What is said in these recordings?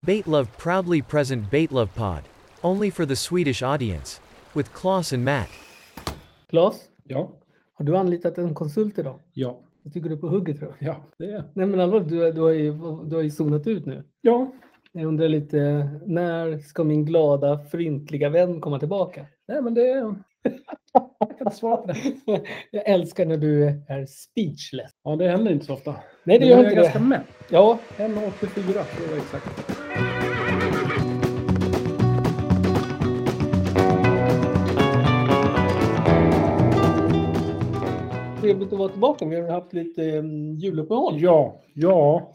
Baitlove proudly present Baitlove Pod, only for the Swedish audience, with Klaus and Matt. Claes, Ja, har du anlitat en konsult idag? ja, Jag tycker du är på hugget tror jag. ja, det är Nej men allvarligt, du, du, har ju, du har ju zonat ut nu. Ja, Jag undrar lite, när ska min glada, frintliga vän komma tillbaka? nej men det är... Jag kan inte svara på det. Jag älskar när du är speechless. Ja, det händer inte så ofta. Nej, det Men gör jag är inte ganska det. mätt. Ja, 1,84 för att vara exakt. trevligt att vara tillbaka. Vi har haft lite um, juluppehåll. Ja, ja,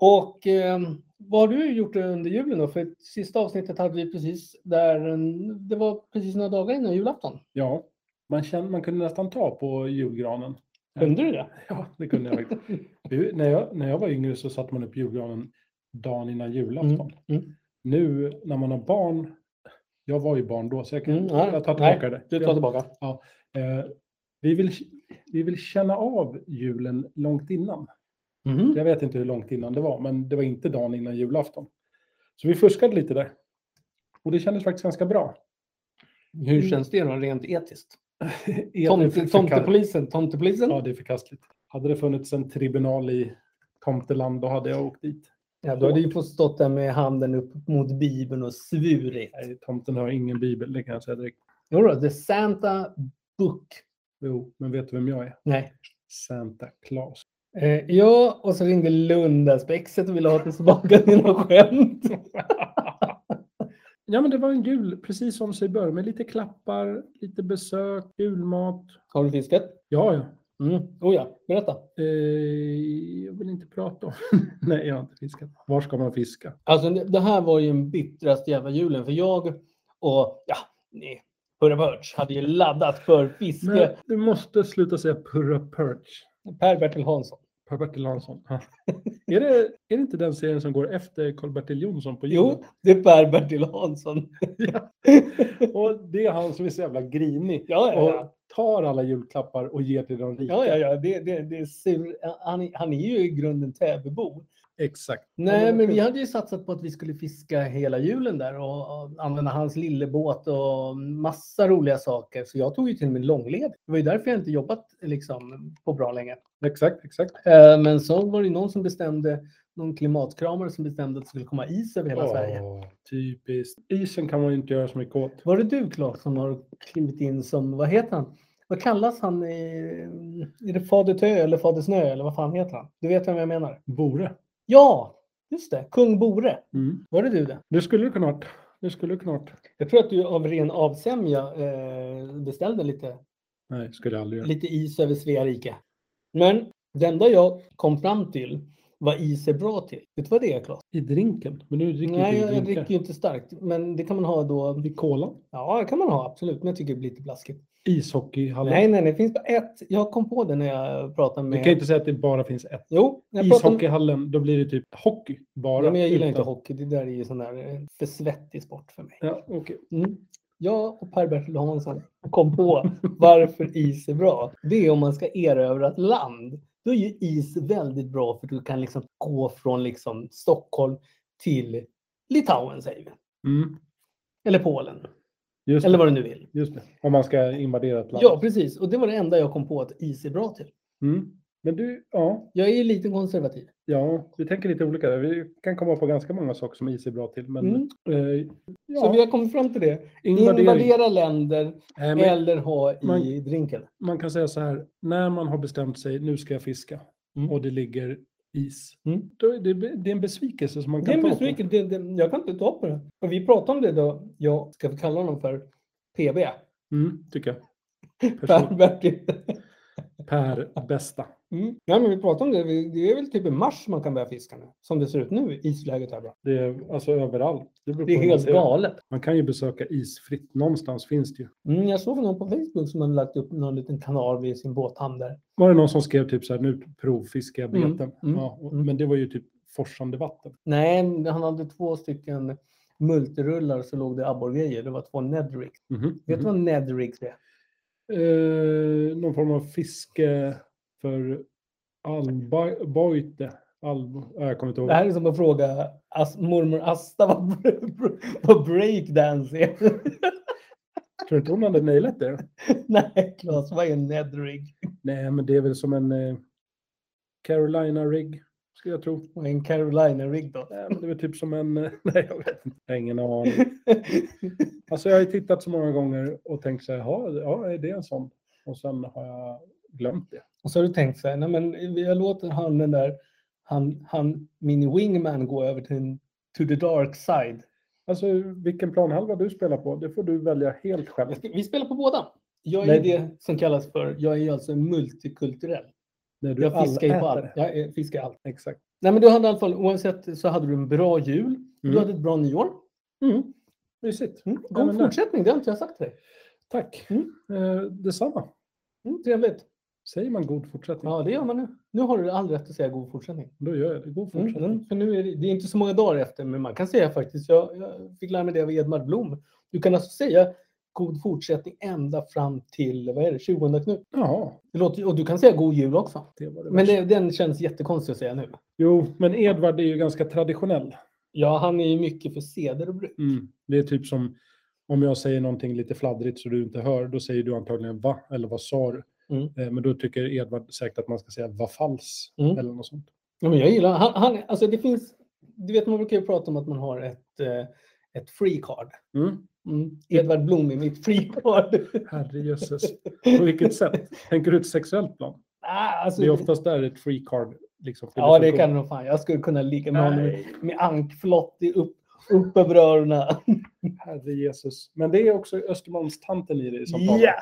Och ehm, vad har du gjort under julen då? För sista avsnittet hade vi precis där, en- det var precis några dagar innan julafton. ja. Man, kände, man kunde nästan ta på julgranen. Kunde du det? Ja, det kunde jag faktiskt. Vi- när, jag, när jag var yngre så satte man upp julgranen dagen innan julafton. Mm, mm. Nu när man har barn, jag var ju barn då så jag, kan, Mm, nej, jag tar tillbaka det. Du tar Ja. tillbaka. Eh, vi, vill, vi vill känna av julen långt innan. Mhm. Jag vet inte hur långt innan det var, men det var inte dagen innan julafton. Så vi fuskade lite där. Och det kändes faktiskt ganska bra. Hur känns det då rent etiskt? För- Mm. Tomte, för- tomtepolisen, tomtepolisen. Ja, det är förkastligt. Hade det funnits en tribunal i tomteland, då hade jag åkt dit. Ja, du hade ju fått stått där med handen upp mot Bibeln och svurit. Nej, tomten har ingen bibel, det kan jag säga direkt. Jodå, the Santa Book. Jo, men vet du vem jag är? Nej. Santa Claus. Eh, ja, och så ringde Lundaspexet och ville ha tillbaka dina skämt. Ja, men det var en jul, precis som sig bör, med lite klappar, lite besök, julmat. Har du fiskat? Ja, ja. Mm. Oh ja, berätta. Eh, jag vill inte prata om. Nej, jag har inte fiskat. Var ska man fiska? Alltså det det här var ju den bittraste jävla julen för jag och ja, ni, Hurra Birch hade ju laddat för Men fiske. du måste sluta säga Purra Perch. Per-Bertil Hansson. Per-Bertil Hansson. är, det, är det inte den serien som går efter Karl-Bertil Jonsson på Jo, det är Per-Bertil Hansson. Ja. ja, Och det är han som är så jävla grinig. ja, ja. Och tar alla julklappar och ger till de rika. Ja, ja, ja. Det, det, det är sur. Han, är- han är ju i grunden Täbybo. Exakt. Nej, men vi hade ju satsat på att vi skulle fiska hela julen där och, och använda hans lillebåt och massa roliga saker. Så jag tog ju till och med långled. Det var ju därför jag inte jobbat liksom, på bra länge. Exakt, exakt. Eh, Men så var det ju någon som bestämde, någon klimatkramare som bestämde att det skulle komma is över hela Åh, Sverige. Typiskt. Isen kan man ju inte göra så mycket åt. Var det du Claes som har klivit in som, vad heter han? Vad kallas han? I, är det Fader Tö eller Fader Snö eller vad fan heter han? Du vet vem jag menar? Bore. Ja, just det. Kung Bore. Mm. Var det du det? Det skulle du kunna ha. varit. Det skulle du kunna ha. varit. Jag tror att du av ren avsämja eh, beställde lite, Nej, skulle jag aldrig göra. lite is över Svea rike. Men det enda jag kom fram till vad is är bra till. Vet du vad det är Claes? I drinken. Men nu dricker Nej, inte jag, du jag drinkar. dricker ju inte starkt. Men det kan man ha då. I kolan. Ja, det kan man ha absolut. Men jag tycker det blir lite blaskigt. Ishockeyhallen. Nej, nej, nej. Det finns bara ett. Jag kom på det när jag pratade med... Du kan inte säga att det bara finns ett. Jo, när jag pratade med... Ishockeyhallen, då blir det typ hockey bara. Nej, men jag gillar utan- inte hockey. Det där är ju sån där eh, för svettig sport för mig. Ja, okej. Mm. Jag och Per-Bertil Hansson kom på varför is är bra. Det är om man ska erövra ett land. Då är ju is väldigt bra för du kan liksom gå från liksom Stockholm till Litauen säger vi. mm, Eller Polen. just, Eller vad du nu vill. det, just det. Om man ska invadera ett land. Ja, precis. Och det var det enda jag kom på att is är bra till. Mm. Men du, ja, Jag är ju lite konservativ. ja, vi tänker lite olika. där. Vi kan komma på ganska många saker som is är bra till. Men, Mm. eh, ja, Så vi har kommit fram till det. invadering. Invadera länder Nej, men eller ha i man- drinken. man kan säga så här, när man har bestämt sig, nu ska jag fiska, Mm. och det ligger is. Mm. Då är det, det är en besvikelse som man Det är kan en ta besvikelse. Det, det, jag kan inte ta på det. Och vi pratade om det då. Jag ska vi kalla honom för PB. på. Mm, tycker jag. Person- Per-Bertil. per bästa. Mm. Ja, men vi pratade om det. Vi- Det är väl typ i mars man kan börja fiska nu. Som det ser ut nu. Isläget här. Mm, Bra. Det är alltså överallt. beror Det är på hur man helt ser det. galet. Man kan ju besöka isfritt. Någonstans finns det ju. Mm, jag såg någon på Facebook som hade lagt upp någon liten kanal vid sin båthamn där. Var det någon som skrev typ så här, nu provfiskar jag beten. Mm, mm, ja, och, mm. Men det var ju typ forsande vatten. Nej, men han hade två stycken multirullar så låg det abborrgrejer. Det var två nedrigs. Mhm, Vet du mhm. vad nedrigs är? Eh, någon form av fiske för albaite. Alv... ja, Jag kommer inte ihåg. Det här är som att fråga As- mormor Asta vad, br- vad breakdance är. Tror du inte hon hade nailat det? Nej, Claes, vad är en nedrig? Nej, men det är väl som en eh, Carolina-rig, skulle jag tro. Vad är en Carolina-rigg då? Nej, men det är väl typ som en... eh, Nej, jag vet inte. Jag har ingen aning. Alltså, jag har ju tittat så många gånger och tänkt så här, "Jaha, ja, är det en sån? Och sen har jag glömt det. Och så har du tänkt så här, nej men jag låter han den där, han, han, min wingman gå över till en, to the dark side. Alltså, vilken planhalva du spelar på, det får du välja helt själv. Vi spelar på båda. Jag är Nej. det som kallas för, jag är alltså multikulturell. När du Jag fiskar ju på allätare. allt. Jag är- fiskar allt. Exakt. Nej men du hade i alla fall, oavsett så hade du en bra jul. Du Mm. hade ett bra nyår. Mm. Mysigt. Mm. Ja, God men det- fortsättning, det har inte jag sagt till dig. Tack. Mm. Eh, detsamma. Mm, trevligt. Säger man god fortsättning, Ja, det gör man nu. Nu har du all rätt att säga god fortsättning. då gör jag det. God Mm, fortsättning. mm, för nu är det, det är inte så många dagar efter, men man kan säga faktiskt, jag, jag fick lära mig det av Edmar Blom. Du kan alltså säga god fortsättning ända fram till, vad är det, 20 Knut. Jaha, Det låter, och du kan säga god jul också. det var det Men värsta. det, den känns jättekonstig att säga nu. Jo, men Edvard är ju ganska traditionell. Ja, han är ju mycket för seder och bruk. Det är typ som om jag säger någonting lite fladdrigt så du inte hör, då säger du antagligen va eller vad sa du? Mm. Eh, Men då tycker Edvard säkert att man ska säga vad fals Mm. eller något sånt. Ja, men jag gillar han, han, alltså det finns, du vet man brukar ju prata om att man har ett, eh, ett free card. Mm. Mm. Edvard Blom är mitt free card. Herrejösses. På vilket sätt? Tänker du ett sexuellt plan? ah, alltså, Det är oftast där ett free card. Liksom, fyller Ja, det funktion. kan nog fan. Jag skulle kunna ligga med honom Nej, med ankflott i upp, upp över öronen. herre Jesus. Men det är också Östermalmstanten i dig som talar. Ja,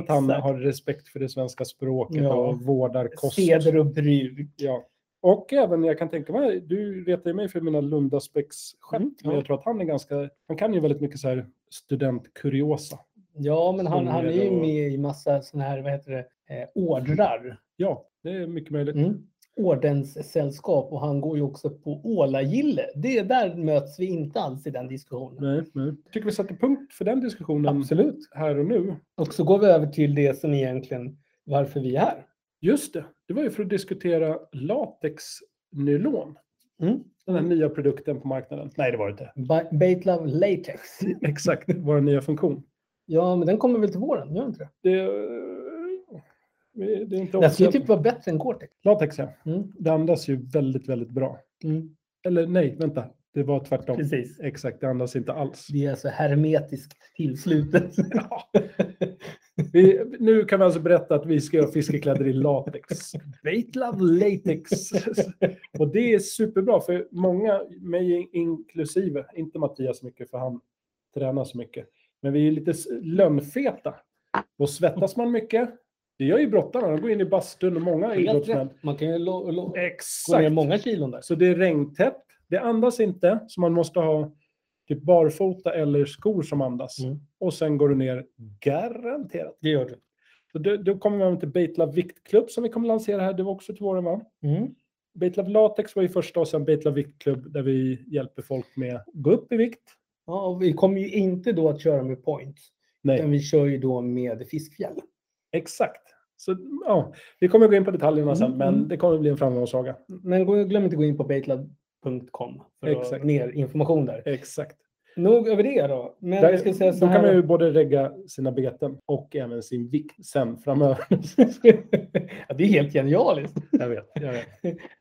Att han exakt. har respekt för det svenska språket Ja. och vårdar kost. Seder och bruk. Ja. Och även, jag kan tänka mig, du retar ju mig för mina Lundaspex-skämt, Mm, ja. men jag tror att han är ganska, han kan ju väldigt mycket så här studentkuriosa. Ja, men han, han är ju Sånger och- med i massa sådana här, vad heter det, eh, ordrar. Ja, det är mycket möjligt. Mm. Ordenssällskap och han går ju också på Ålagille. Det där möts vi inte alls i den diskussionen. Nej, nej. Tycker vi sätter punkt för den diskussionen Absolut. här och nu. Och så går vi över till det som egentligen varför vi är här. Just det, det var ju för att diskutera latexnylon, Mm. den här nya produkten på marknaden. Nej, det var det inte. Ba- Baitlove Latex. Exakt, vår nya funktion. Ja, men den kommer väl till våren? Gör den inte det? Det, eh, det är inte Den skulle officiellt. typ vara bättre än Cortex. Latex, ja. Mm. Det andas ju väldigt, väldigt bra. Eller nej, vänta. Det var tvärtom. Precis. Exakt, det andas inte alls. Vi är alltså hermetiskt tillslutet. Ja. Vi, nu kan vi alltså berätta att vi ska göra fiskekläder i latex. Baitlove latex. Och det är superbra för många, mig inklusive, inte Mattias så mycket för han tränar så mycket. Men vi är lite s- lönnfeta. Och svettas man mycket, det gör ju brottarna. De går in i bastun och många idrottsmän. Man kan ju lo- lo- gå ner Exakt. många kilon där. Så det är regntäppt. Det andas inte, så man måste ha typ barfota eller skor som andas. Mm. Och sen går du ner garanterat. Det gör du. Så då, då kommer vi även till Baitlove viktklubb som vi kommer lansera här. Det var också till våren va? Mm. Baitlove latex var ju första och sen Baitlove viktklubb där vi hjälper folk med att gå upp i vikt. Ja, och vi kommer ju inte då att köra med points. Nej, Utan vi kör ju då med fiskfjäll. exakt. Så ja, vi kommer gå in på detaljerna sen, Mm, men mm. det kommer bli en framgångssaga. Men gå- glöm inte gå in på baitlab.com för att ha Exakt. mer information där. Exakt. Nog över det då. Men Där, jag ska säga så då här. kan man ju både regga sina beten och även sin vikt sen framöver. ja, det är helt genialiskt. jag vet, jag vet.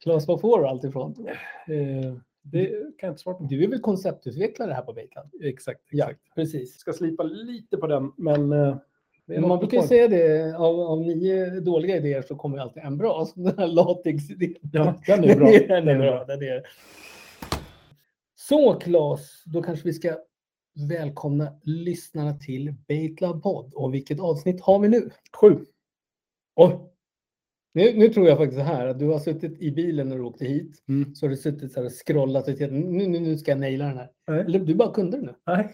Claes, var får du allt ifrån? Eh, det kan jag inte svara på. Du är väl konceptutvecklare här på Baitlab? Exakt. Ja, exakt. precis. Jag ska slipa lite på den, men... eh, det är Man något brukar ju kvar. säga det, av, av nio dåliga idéer så kommer ju alltid en bra. Så den här latexidén. Ja, den är bra. den är bra. Den är... Så Claes, då kanske vi ska välkomna lyssnarna till Baitlab podd. Och vilket avsnitt har vi nu? Sju. Oj! Nu, nu tror jag faktiskt så här att du har suttit i bilen när du åkte hit. Mm. Så har du suttit så här och scrollat och tänkt nu, nu, nu ska jag naila den här. Nej. Eller du bara kunde den nu. Nej.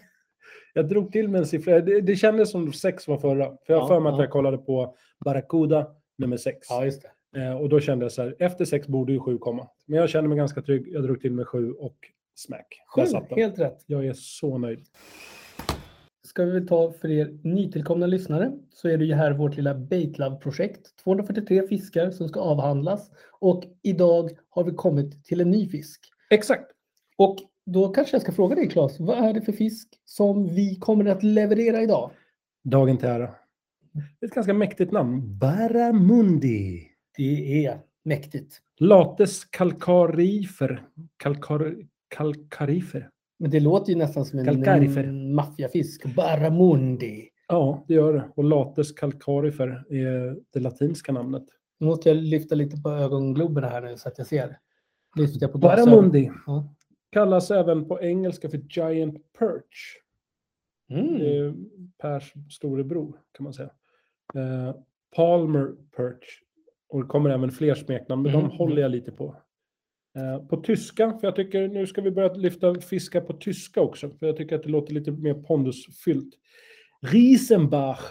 Jag drog till med en siffra. Det, det kändes som sex var förra. För jag Ja, har för mig att ja. jag kollade på Barracuda nummer sex. just det. Eh, och då kände jag så här, efter sex borde ju sju komma. Men jag kände mig ganska trygg. Jag drog till med sju och smack. Där satt Sju, den. helt rätt. Jag är så nöjd. ska vi väl ta för er nytillkomna lyssnare så är det ju här vårt lilla Baitlove-projekt. 243 fiskar som ska avhandlas och idag har vi kommit till en ny fisk. Exakt. Och då kanske jag ska fråga dig Claes, vad är det för fisk som vi kommer att leverera idag? Dagen till ära. Det är ett ganska mäktigt namn. Barramundi. Det är mäktigt. Lates calcarifer. Calcar, calcarifer. Men det låter ju nästan som Calcarifer. en maffiafisk. Barramundi. Ja, det gör det. Och lates calcarifer är det latinska namnet. Nu måste jag lyfta lite på ögongloberna här nu så att jag ser. Lyfter jag på glasögonen. Barramundi Ja. kallas även på engelska för giant perch. Det Mm. är Pers storebror kan man säga. Eh, Palmer Perch. Och det kommer även fler smeknamn, men Mm. de håller jag lite på. Eh, på tyska, för jag tycker nu ska vi börja lyfta fiskar på tyska också, för jag tycker att det låter lite mer pondusfyllt. Riesenbach.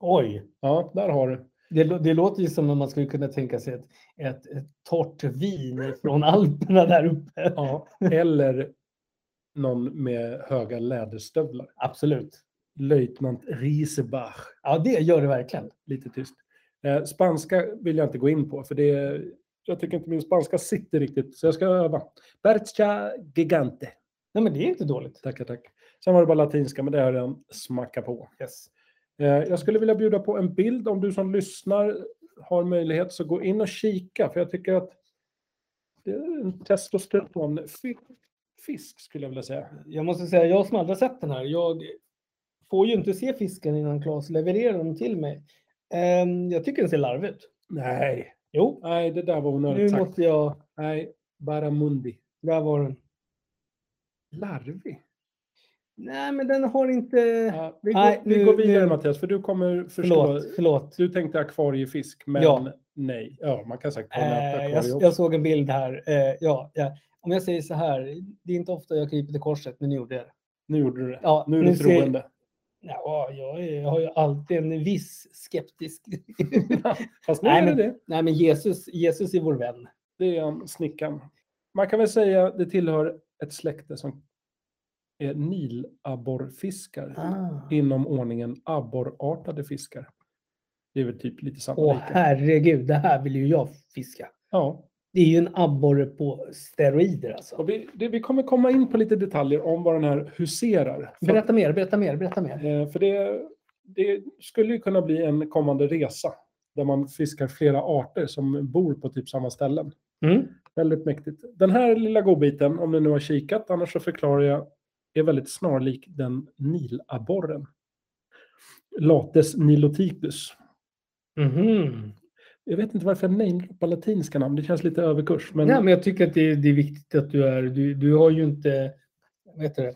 Oj, Ja, där har du. det, lå- det låter ju som om man skulle kunna tänka sig ett, ett, ett torrt vin från Alperna där uppe. Ja, eller någon med höga läderstövlar. Absolut. Löjtnant Riesebach. Ja, det gör det verkligen. lite tyst. Eh, spanska vill jag inte gå in på, för det är, jag tycker inte min spanska sitter riktigt, så jag ska öva. Bercha gigante. Nej, men det är inte dåligt. Tackar, tack. Sen var det bara latinska, men det har jag redan smackat på. Yes. Eh, jag skulle vilja bjuda på en bild. Om du som lyssnar har möjlighet, så gå in och kika, för jag tycker att det är en testosteronfisk, fisk skulle jag vilja säga. Jag måste säga, jag som aldrig har sett den här, jag får ju inte se fisken innan Claes levererar den till mig. Ehm, jag tycker den ser larvig ut. Nej, Jo, nej, det där var nu onödigt sagt. måste jag... Nej, baramundi. Där var den. Larvig. Nej, men den har inte... Ja, Eh, vi, Nej, går, vi nu- går vidare nu- Mattias, för du kommer förstå. förlåt, förlåt. Du tänkte akvariefisk, men Ja. nej. Ja, man kan säkert ha en Eh, akvarie jag, också. jag såg en bild här. Eh, ja, ja. Om jag säger så här, det är inte ofta jag kryper till korset, men nu gjorde jag det. Nu gjorde du det. Ja, nu är du nu ser- troende. Ja, jag, är, jag har ju alltid en viss skeptisk... Fast nu Nej, är det men- det. Nej, men Jesus, Jesus är vår vän. Det är han, snickaren. Man kan väl säga att det tillhör ett släkte som är nilabborrfiskar Ah. inom ordningen abborrartade fiskar. Det är väl typ lite samma Åh, lika. herregud, det här vill ju jag fiska. Ja, Det är ju en abborre på steroider alltså. och vi, det, vi kommer komma in på lite detaljer om vad den här huserar. För Berätta mer, berätta mer, berätta mer. Eh, För det, det skulle ju kunna bli en kommande resa där man fiskar flera arter som bor på typ samma ställen. Mm. Väldigt mäktigt. Den här lilla godbiten, om ni nu har kikat, annars så förklarar jag, är väldigt snarlik den nilabborren. Lates niloticus. Mhm. Jag vet inte varför jag namedroppar latinska namn, det känns lite överkurs. Men, Nej, men jag tycker att det, det är viktigt att du är... Du, du har ju inte... Vad heter det?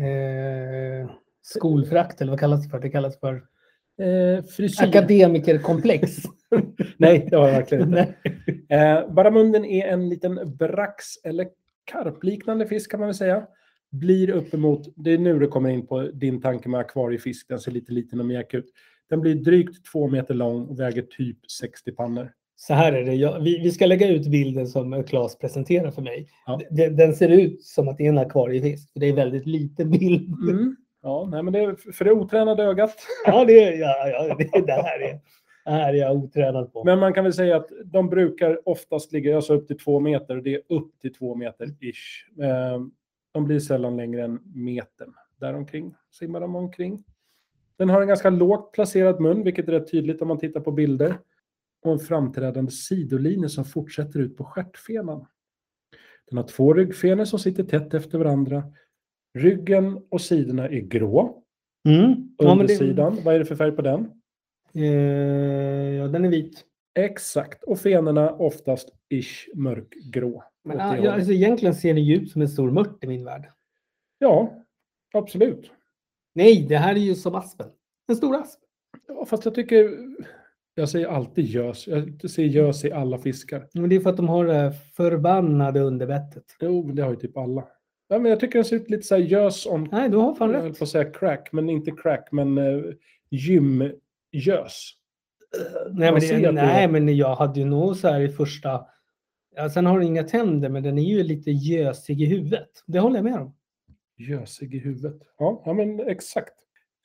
Eh, skolfrakt eller vad kallas det för? Det kallas för eh, frisyr. akademikerkomplex. Nej, det har jag verkligen inte. Nej. Eh, Barramunden är en liten brax eller karpliknande fisk kan man väl säga. Blir uppemot, det är nu du kommer in på din tanke med akvariefisk, den ser lite liten och mjäk ut. Den blir drygt två meter lång och väger typ 60 pannor. Så här är det. Jag, vi, vi ska lägga ut bilden som Claes presenterar för mig. Ja. Den, den ser ut som att det är en akvariefisk. för Det är en väldigt liten bild. Mm. Ja, nej, men det är för det otränade ögat. Ja, det, ja, ja, det, det här är det här är jag otränad på. Men man kan väl säga att de brukar oftast ligga alltså upp till två meter och det är upp till två meter ish. Eh, De blir sällan längre än metern. Däromkring simmar de omkring. Den har en ganska lågt placerad mun, vilket är rätt tydligt om man tittar på bilder. Och en framträdande sidolinje som fortsätter ut på stjärtfenan. Den har två ryggfenor som sitter tätt efter varandra. Ryggen och sidorna är grå. Mm. Ja, men det, Undersidan, vad är det för färg på den? eh, ja, den är vit. Exakt, och fenorna oftast ish mörkgrå. Men, åt ja, det ja, hållet. alltså, egentligen ser den ju ut som en stor mört i min värld. ja, absolut. Nej, det här är ju som aspen. En stor asp. Ja, fast jag tycker, jag säger alltid gös. Jag ser gös i alla fiskar. Men det är för att de har det här förbannade underbettet. Jo, men det har ju typ alla. Ja, men jag tycker den ser ut lite så här gös on... Nej, du har Jag fan höll rätt. på att säga crack, men inte crack, men uh, gymgös. Nej, Man men, ser att det det, nej är- men jag hade ju nog så här i första... Ja, sen har den inga tänder, men den är ju lite gösig i huvudet. Det håller jag med om. Gösig i huvudet. Ja, ja men exakt.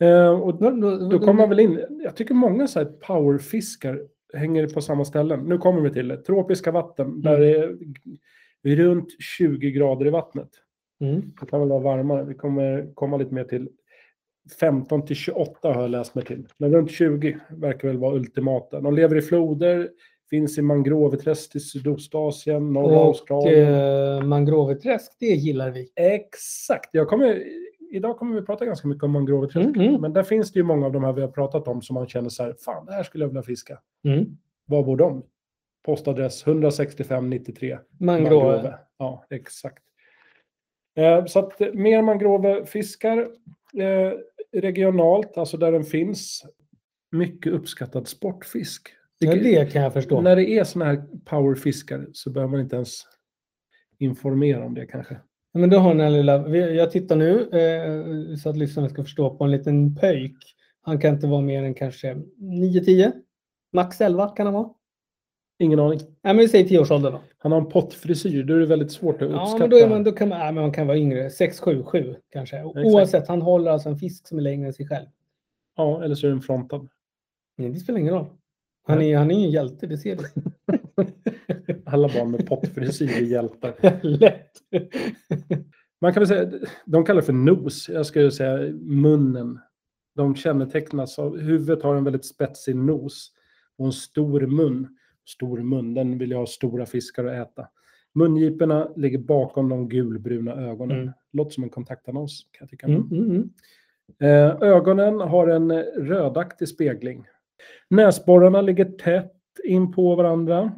Eh, och Då, då, då kommer man väl in. Jag tycker många så här powerfiskar hänger på samma ställen. Nu kommer vi till det. Tropiska Mm. vatten där det är g- runt 20 grader i vattnet. Mm. Det kan väl vara varmare. Vi kommer komma lite mer till 15 till 28 har jag läst mig till. Men runt 20 verkar väl vara ultimata. De lever i floder, finns i mangroveträsk i Sydostasien, norra Och Australien. eh, mangroveträsk, det gillar vi. Exakt. Jag kommer, idag kommer vi prata ganska mycket om mangroveträsk. Mm, mm. Men där finns det ju många av de här vi har pratat om som man känner så här, fan det här skulle jag vilja fiska. Mm. Var bor de? Postadress 16593. Mangrove. Ja, exakt. Eh, Så att eh, mer mangrovefiskar eh, regionalt, alltså där den finns. Mycket uppskattad sportfisk. Ja, det kan jag förstå. När det är såna här powerfiskar så behöver man inte ens informera om det kanske. Ja, Men då har den här lilla, vi- jag tittar nu eh, så att lyssnarna ska förstå på en liten pöjk. Han kan inte vara mer än kanske 9-10. Max 11 kan han vara. Ingen aning. Nej, men vi säger 10-årsåldern då. Han har en pottfrisyr, då är det väldigt svårt att uppskatta. Ja, men då, är man, då kan man, nej, men man kan vara yngre. 6, 7, 7 kanske. Och Exakt. Oavsett, han håller alltså en fisk som är längre än sig själv. ja eller så är den frontad. Mm. Nej, det spelar ingen roll. Han är, han är ju en hjälte, det ser vi. Alla barn med pottfrisyr är hjältar. Lätt. Man kan väl säga, de kallar det för nos. Jag skulle säga munnen. De kännetecknas av, huvudet har en väldigt spetsig nos och en stor mun. Stor mun, den vill jag ha stora fiskar att äta. Mungiporna ligger bakom de gulbruna ögonen. Mm. Låter som en kontaktannons kan jag tycka. Mm, mm, mm. Eh, ögonen har en eh, rödaktig spegling. Näsborrarna ligger tätt in på varandra.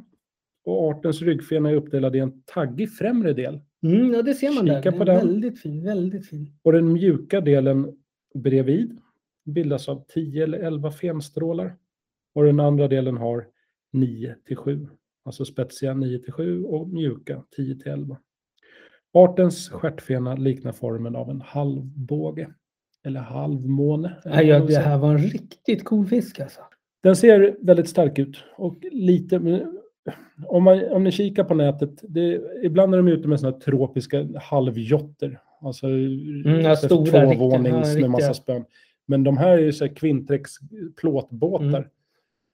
Och artens ryggfena är uppdelad i en taggig främre del. Mm, ja, det ser man där. Kika på den. är den. Väldigt fin, väldigt fin. Och den mjuka delen bredvid bildas av 10 eller 11 fenstrålar. Och den andra delen har 9 till 7. Alltså spetsiga 9 till 7 och mjuka 10 till 11. Artens stjärtfena liknar formen av en halvbåge. Eller halvmåne. eller Nej, vad ja, man det säger. här var en riktigt cool fisk alltså. Den ser väldigt stark ut och lite... men Om, man, om ni kikar på nätet, det, ibland är de ute med sådana här tropiska halvjotter. Alltså ja, så Mm, stora, riktiga- ja, tvåvånings riktiga. med massa spön. Men de här är ju så här Quintrex Mm. plåtbåtar.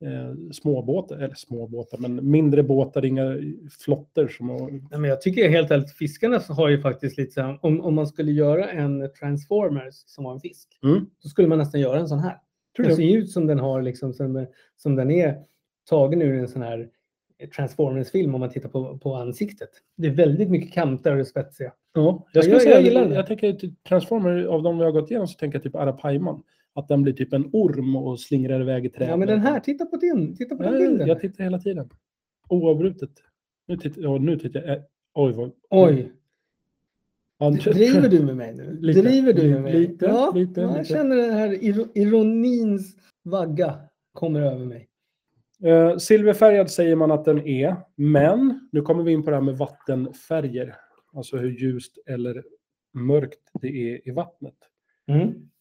Eh, småbåtar, eller småbåtar, men mindre båtar, inga flotter som... Nej, men jag tycker helt ärligt, fiskarna så har ju faktiskt lite så här, om, om man skulle göra en Transformers som var en fisk, Mm. då skulle man nästan göra en sån här. Tror Den du? ser ju ut Alltså, som den har liksom, som, som den är tagen ur en sån här Transformers-film om man tittar på, på ansiktet. Det är väldigt mycket kanter och det spetsiga. Ja, jag- jag, skulle jag säga, jag, gillar det. jag tänker typ Transformer, av de vi har gått igenom så tänker jag typ Arapaiman. Att den blir typ en orm och slingrar iväg i trädet. Ja, men den här, titta på den, titta på den Nej, bilden. Jag tittar hela tiden. Oavbrutet. Nu tittar, ja, nu tittar jag. eh, Oj, vad... Oj, Ja, nu- driver du med mig nu? Lite. Driver du med mig? Lite, ja, lite, ja, jag lite. känner den här iro- ironins vagga kommer över mig. Eh, silverfärgad säger man att den är, men nu kommer vi in på det här med vattenfärger. Alltså hur ljust eller mörkt det är i vattnet.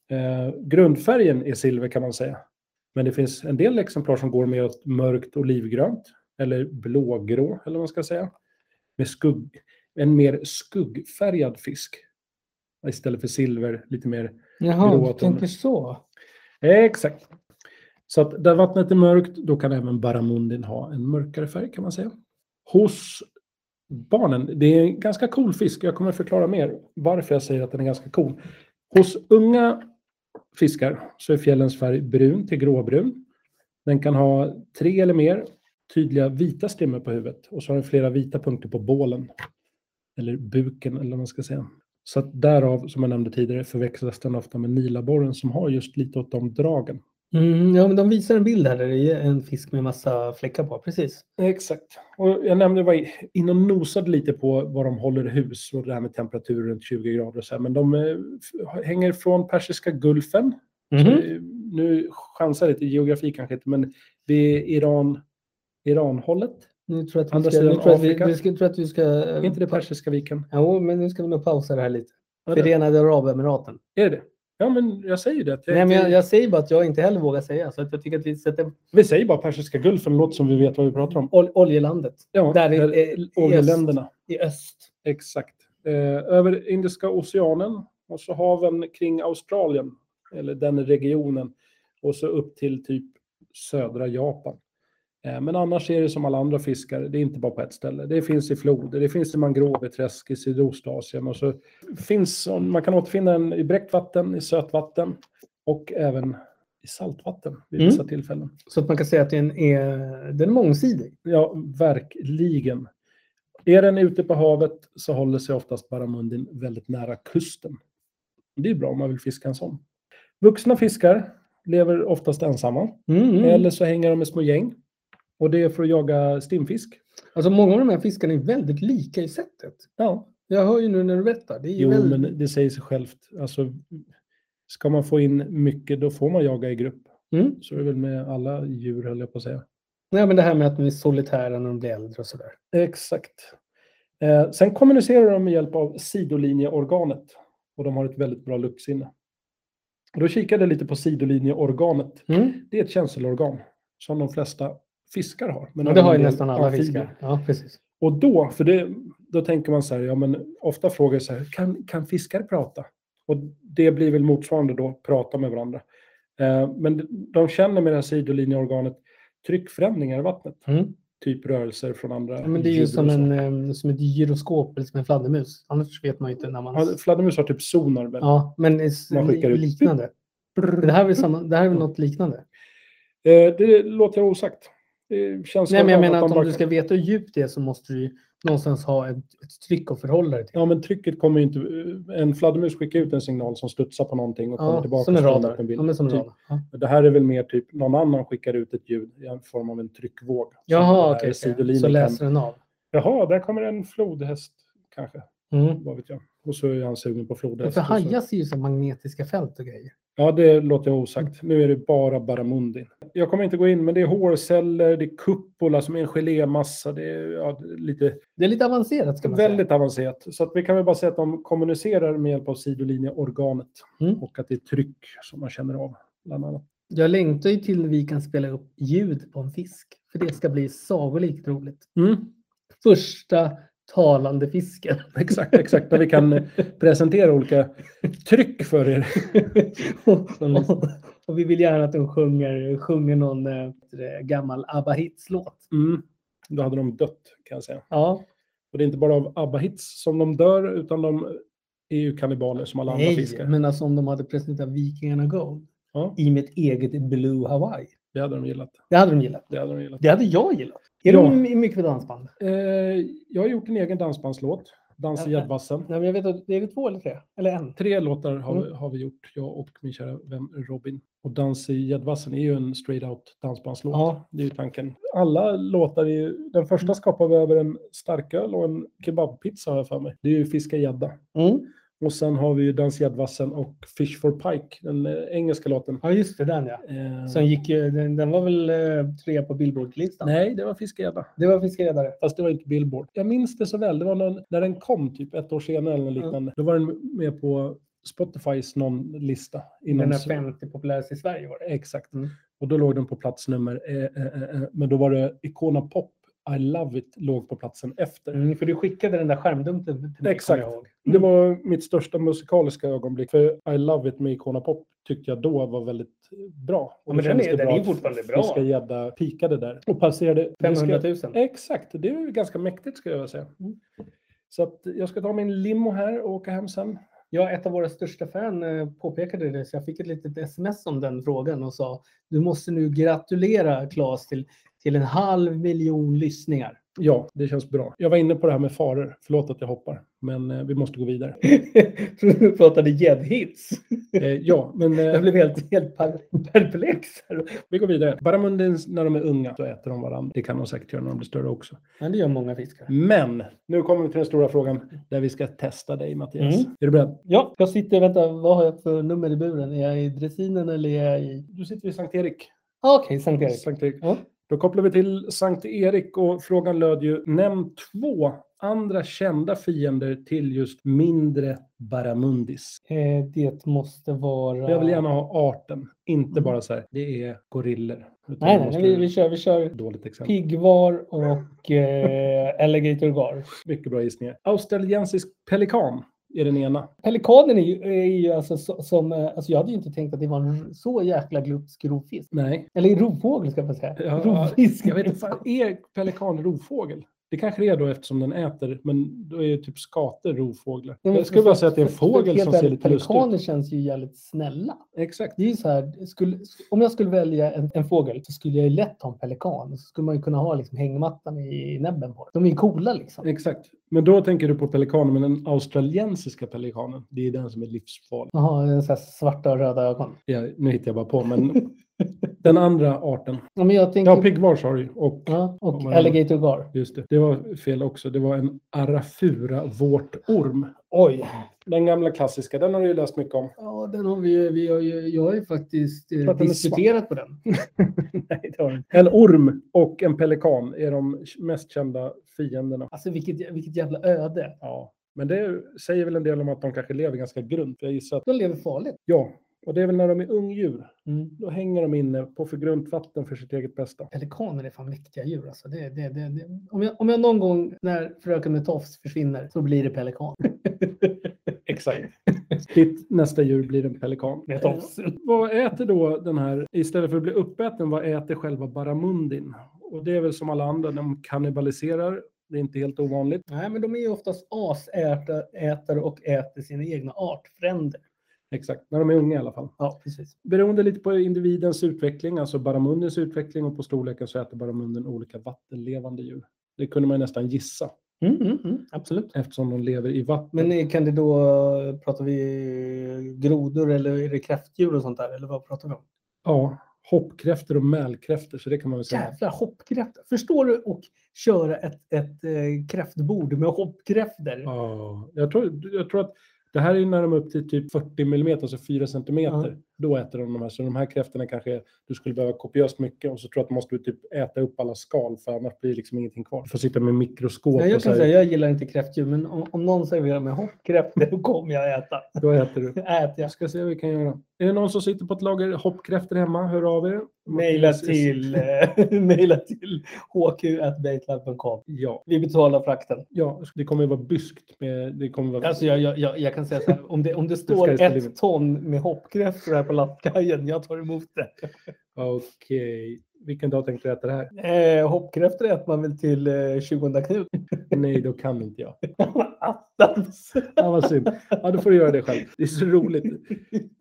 Eh, grundfärgen är silver kan man säga. Men det finns en del exemplar som går med åt mörkt olivgrönt eller blågrå eller vad man ska säga. Med skugg, en mer skuggfärgad fisk. Istället för silver, lite mer Jaha, Gråa du toner. tänker så. Exakt. Så att där vattnet är mörkt, då kan även barramundin ha en mörkare färg kan man säga. Hos barnen, det är en ganska cool fisk. Jag kommer förklara mer varför jag säger att den är ganska cool. Hos unga fiskar så är fjällens färg brun till gråbrun. Den kan ha tre eller mer tydliga vita strimmor på huvudet och så har den flera vita punkter på bålen. Eller buken eller vad man ska säga. Så att därav, som jag nämnde tidigare, förväxlas den ofta med nilaborren som har just lite åt de dragen. Mm, ja, men de visar en bild här där det är en fisk med massa fläckar på. Precis. Exakt. Och jag nämnde, var in och nosade lite på var de håller hus och det här med temperatur runt 20 grader och så här. Men de eh, f- hänger från Persiska gulfen. Mhm. Eh, Nu chansar jag lite, geografi kanske inte, men vid Iran, Iranhållet. Nu tror jag att vi Andra ska... sidan Nu tror jag att vi, Afrika. vi ska, tror att vi ska Är inte det Persiska viken? Jo, men nu ska vi nog pausa det här lite. Är det Förenade Arabemiraten. är det? Ja, men jag säger ju det. att Nej, men jag, jag säger bara att jag inte heller vågar säga, så att jag tycker att vi sätter Vi säger bara Persiska gulfen, det låter som vi vet vad vi pratar om. ol, oljelandet Ja, Där är- eller är- oljeländerna. i öst. Exakt. Eh, över Indiska oceanen Och så haven kring Australien, eller den regionen. Och så upp till typ södra Japan. Eh, Men annars är det som alla andra fiskar, det är inte bara på ett ställe. Det finns i floder, det finns i mangroveträsk i Sydostasien och så finns, man kan återfinna den i bräckt vatten, i sötvatten och även i saltvatten vid Mm. vissa tillfällen. Så att man kan säga att den är, den är mångsidig. Ja, verkligen. Är den ute på havet så håller sig oftast baramundin väldigt nära kusten. Det är bra om man vill fiska en sån. Vuxna fiskar lever oftast ensamma Mm. eller så hänger de i små gäng. Och det är för att jaga stimfisk. Alltså många av de här fiskarna är väldigt lika i sättet. Ja, Jag hör ju nu när du berättar. Det är ju jo, väldigt... men det säger sig självt. Alltså, ska man få in mycket, då får man jaga i grupp. Mm. Så är det väl med alla djur, höll jag på att säga. Nej, men det här med att de är solitära när de blir äldre och sådär. Exakt. Eh, sen kommunicerar de med hjälp av sidolinjeorganet och de har ett väldigt bra luktsinne. Och Då kikade jag lite på sidolinjeorganet. Mm. Det är ett känselorgan som de flesta fiskar har. Men Ja, det även har ju en del nästan alla amfibier. fiskar. Ja, precis. Och då, för det, då tänker man så här, ja men ofta frågar jag så här, kan, kan fiskar prata? Och det blir väl motsvarande då, prata med varandra. Eh, men de känner med det här sidolinjeorganet tryckförändringar i vattnet, Mm. typ rörelser från andra Ja, men det är djur ju och som, så. en, eh, som ett gyroskop eller som en fladdermus. Annars vet man ju inte när man... Ja, Fladdermus har typ sonar. väl? Ja, men det är s- Man skickar ut- liknande. Det här är väl, samma, det här är väl något liknande? Eh, det låter jag osagt. Det känns Nej, men jag som menar de att om bara- du ska veta hur djupt det är så måste du ju någonstans ha ett, ett tryck att förhålla dig till. Ja, men trycket kommer ju inte... En fladdermus skickar ut en signal som studsar på någonting och kommer Ja, tillbaka. som en och ställer radar. upp en bild. Ja, men som en Typ. radar. Ja. Det här är väl mer typ någon annan skickar ut ett ljud i en form av en tryckvåg. Så det Jaha, här okej. okej. sidolinjen Så kan- läser den av. Jaha, där kommer en flodhäst kanske. Mm. Vad vet jag. Och så är han sugen på Men flodhäst. För och så- hajar ser ju som magnetiska fält och grejer. Ja, det låter jag osagt. Nu är det bara Baramundi. Jag kommer inte gå in, men det är hårceller, det är cupola som är en gelémassa, det är ja, lite Det är lite avancerat ska man väldigt avancerat. Så att vi kan väl bara säga att de kommunicerar med hjälp av sidolinjeorganet Mm. och att det är tryck som man känner av. Bland annat. säga. Jag längtar ju till vi kan spela upp ljud på en fisk. För det ska bli sagolikt roligt. Första talande fisken. Exakt, exakt. Där vi kan eh, presentera olika tryck för er. och, och, och vi vill gärna att de sjunger, sjunger någon eh, gammal Abba Hits-låt. Mm. Då hade de dött kan jag säga. Ja, Och det är inte bara av ABBA-hits som de dör, utan de är ju kannibaler som alla andra nej, fiskar. men alltså om de hade presenterat Vikingarna Go Ja, i mitt eget Blue Hawaii. det hade de gillat. Det hade de gillat. Det hade de gillat. Det hade jag gillat. Är Ja. de mycket för dansband? Eh, jag har gjort en egen dansbandslåt, Dans i Ja. gäddvassen. Nej, men jag vet att det är två eller tre. Eller en. Tre låtar har, vi, Mm. har vi gjort, jag och min kära vän Robin. Och Dans i gäddvassen är ju en straight out dansbandslåt. Ja. Mm. Det är ju tanken. Alla låtar är ju, den första skapar vi över en starköl och en kebabpizza har jag för mig. Det är ju Fiska gädda. Mm. Och sen har vi ju Dans i gäddvassen och Fish for Pike, den eh, engelska låten. Ja, just det. Den ja. Eh, Som gick, ju- den, den var väl eh, tre på Billboard-listan? Nej, det var Fiskegädda. Det var Fiskredare. Fast det var inte Billboard. Jag minns det så väl. Det var någon, när den kom, typ ett år senare eller Mm. liknande. Då var den med på Spotifys någon lista. Den är Sverige. 50 populäraste i Sverige var det. Exakt. Mm. Och då låg den på plats nummer... Eh, eh, eh, eh. men då var det Icona Pop, I Love It, låg på platsen efter. Mm, för du skickade den där skärmdumpen till mig, kommer Exakt. jag ihåg. Det var mitt största musikaliska ögonblick. För I Love It med Icona Pop tyckte jag då var väldigt bra. Ja, Och men då den kändes är- det den bra är att fortfarande bra. Fiska Gädda pikade där och passerade... 500 000. Exakt, det är ju ganska mäktigt skulle jag vilja säga. Mm. Så att jag ska ta min limo här och åka hem sen. Ja, ett av våra största fan eh, påpekade det, så jag fick ett litet sms om den frågan och sa du måste nu gratulera Claes till, till en halv miljon lyssningar. Ja, det känns bra. Jag var inne på det här med faror. Förlåt att jag hoppar, men eh, vi måste gå vidare. Tror du vi pratade gäddhits? Eh, ja, men eh, Jag blev helt, helt per- perplex. här. vi går vidare. Baramundins, när de är unga, så äter de varandra. Det kan de säkert göra när de blir större också. Ja, det gör många fiskar. Men nu kommer vi till den stora frågan där vi ska testa dig, Mattias. Mm. Är du beredd? Ja, jag sitter och väntar. Vad har jag för nummer i buren? Är jag i dressinen eller är jag i... Du sitter vid Sankt Erik. Ah, Okej, Sankt Erik. Sankt Erik. Ja. Då kopplar vi till Sankt Erik och frågan löd ju nämn två andra kända fiender till just mindre baramundis. Eh, det måste vara... Jag vill gärna ha arten, inte Mm. bara så här, det är gorillor. Utan Nej, det nej, måste nej vi, vara vi kör. Vi kör ett Dåligt exempel. Piggvar och eh, Alligator Gar. Mycket bra gissningar. Australiensisk pelikan är den ena. Pelikanen är ju, är ju alltså så, som, eh, alltså jag hade ju inte tänkt att det var en r- så jäkla glupsk rovfisk. Nej. Eller rovfågel ska man säga. Ja, rovfisk. Jag vet inte, fan, är pelikan rovfågel? Det kanske det är då eftersom den äter, men då är ju typ skator rovfåglar. Nej, men Jag skulle bara säga att det är en för- för- fågel helt som ser ärligt, lite lustig ut. Pelikaner känns ju jävligt snälla. Exakt. Det är ju så här, skulle, om jag skulle välja en, en fågel så skulle jag ju lätt ha en pelikan. Så skulle man ju kunna ha liksom hängmattan i, i näbben på den. De är ju coola liksom. Exakt. Men då tänker du på pelikanen, men den australiensiska pelikanen, det är den som är livsfarlig. Jaha, en så här svarta och röda ögon. Ja, nu hittar jag bara på, men den andra arten. Ja, men jag tänker... Ja, piggvars har du ju, och ja, och Ja, men- alligator gar. Just det, det var fel också. Det var en arafura vårtorm. Oj. Den gamla klassiska, den har du ju läst mycket om. Ja, den har vi, ju- vi har ju, jag har ju faktiskt eh, Klart den är disputerat på den. Nej, det har den. En orm och en pelikan är de mest kända fienderna. Alltså vilket, vilket jävla öde. Ja, men det säger väl en del om att de kanske lever ganska grunt. Jag gissar att, De lever farligt. ja, och det är väl när de är ungdjur. Mm. Då hänger de inne på för grunt vatten för sitt eget bästa. Pelikaner är fan mäktiga djur alltså. Det, det, det, det. Om, jag, om jag någon gång när fröken med tofs försvinner så blir det pelikan. Exakt. Ditt nästa djur blir en pelikan. Eh, Med tofs. Vad äter då den här, istället för att bli uppäten, vad äter själva baramundin? Och det är väl som alla andra, de kannibaliserar. Det är inte helt ovanligt. Nej, men de är ju oftast asätare och äter sina egna artfränder. Exakt, när de är unga i alla fall. Ja, precis. Beroende lite på individens utveckling, alltså baramundens utveckling och på storleken så äter baramunden olika vattenlevande djur. Det kunde man ju nästan gissa Mm, mm, mm, absolut. eftersom de lever i vatten. Men eh, kan det då, pratar vi grodor eller är det kräftdjur och sånt där? Eller vad pratar vi om? Ja, hoppkräftor och mälkräftor, så det kan man väl säga. Jävla hoppkräfta. Förstår du och köra ett, ett eh, kräftbord med hoppkräftor? Ja, jag, tror, jag tror att det här är ju när de är upp till typ 40 mm, alltså 4 cm. Ja. Då äter de de här. Så de här kräftorna kanske du skulle behöva kopiöst mycket och så tror jag att du måste typ äta upp alla skal för annars blir det liksom ingenting kvar. Du får sitta med mikroskop Nej, jag och så kan här, säga, jag gillar inte kräftdjur, men om, om någon serverar mig hoppkräftor då kommer jag äta. då äter du. Äter jag. Jag ska se vad vi kan göra. Är det någon som sitter på ett lager hoppkräftor hemma? Hör av er. Maila till, eh, maila till hq.baitlab.com. Ja, Vi betalar frakten. ja, det kommer ju vara byskt. Med, det kommer vara... Alltså jag, jag, jag, jag kan säga så här, om det, om det står Sky's the ett limit. ton med hoppkräftor här på lastkajen, jag tar emot det. Okej. Vilken dag tänkte du äta det här? Eh, hoppkräftor äter man väl till eh, 20 Knut? Nej, då kan inte jag. Attans! Ja, vad synd. Ja, då får du göra det själv. Det är så roligt.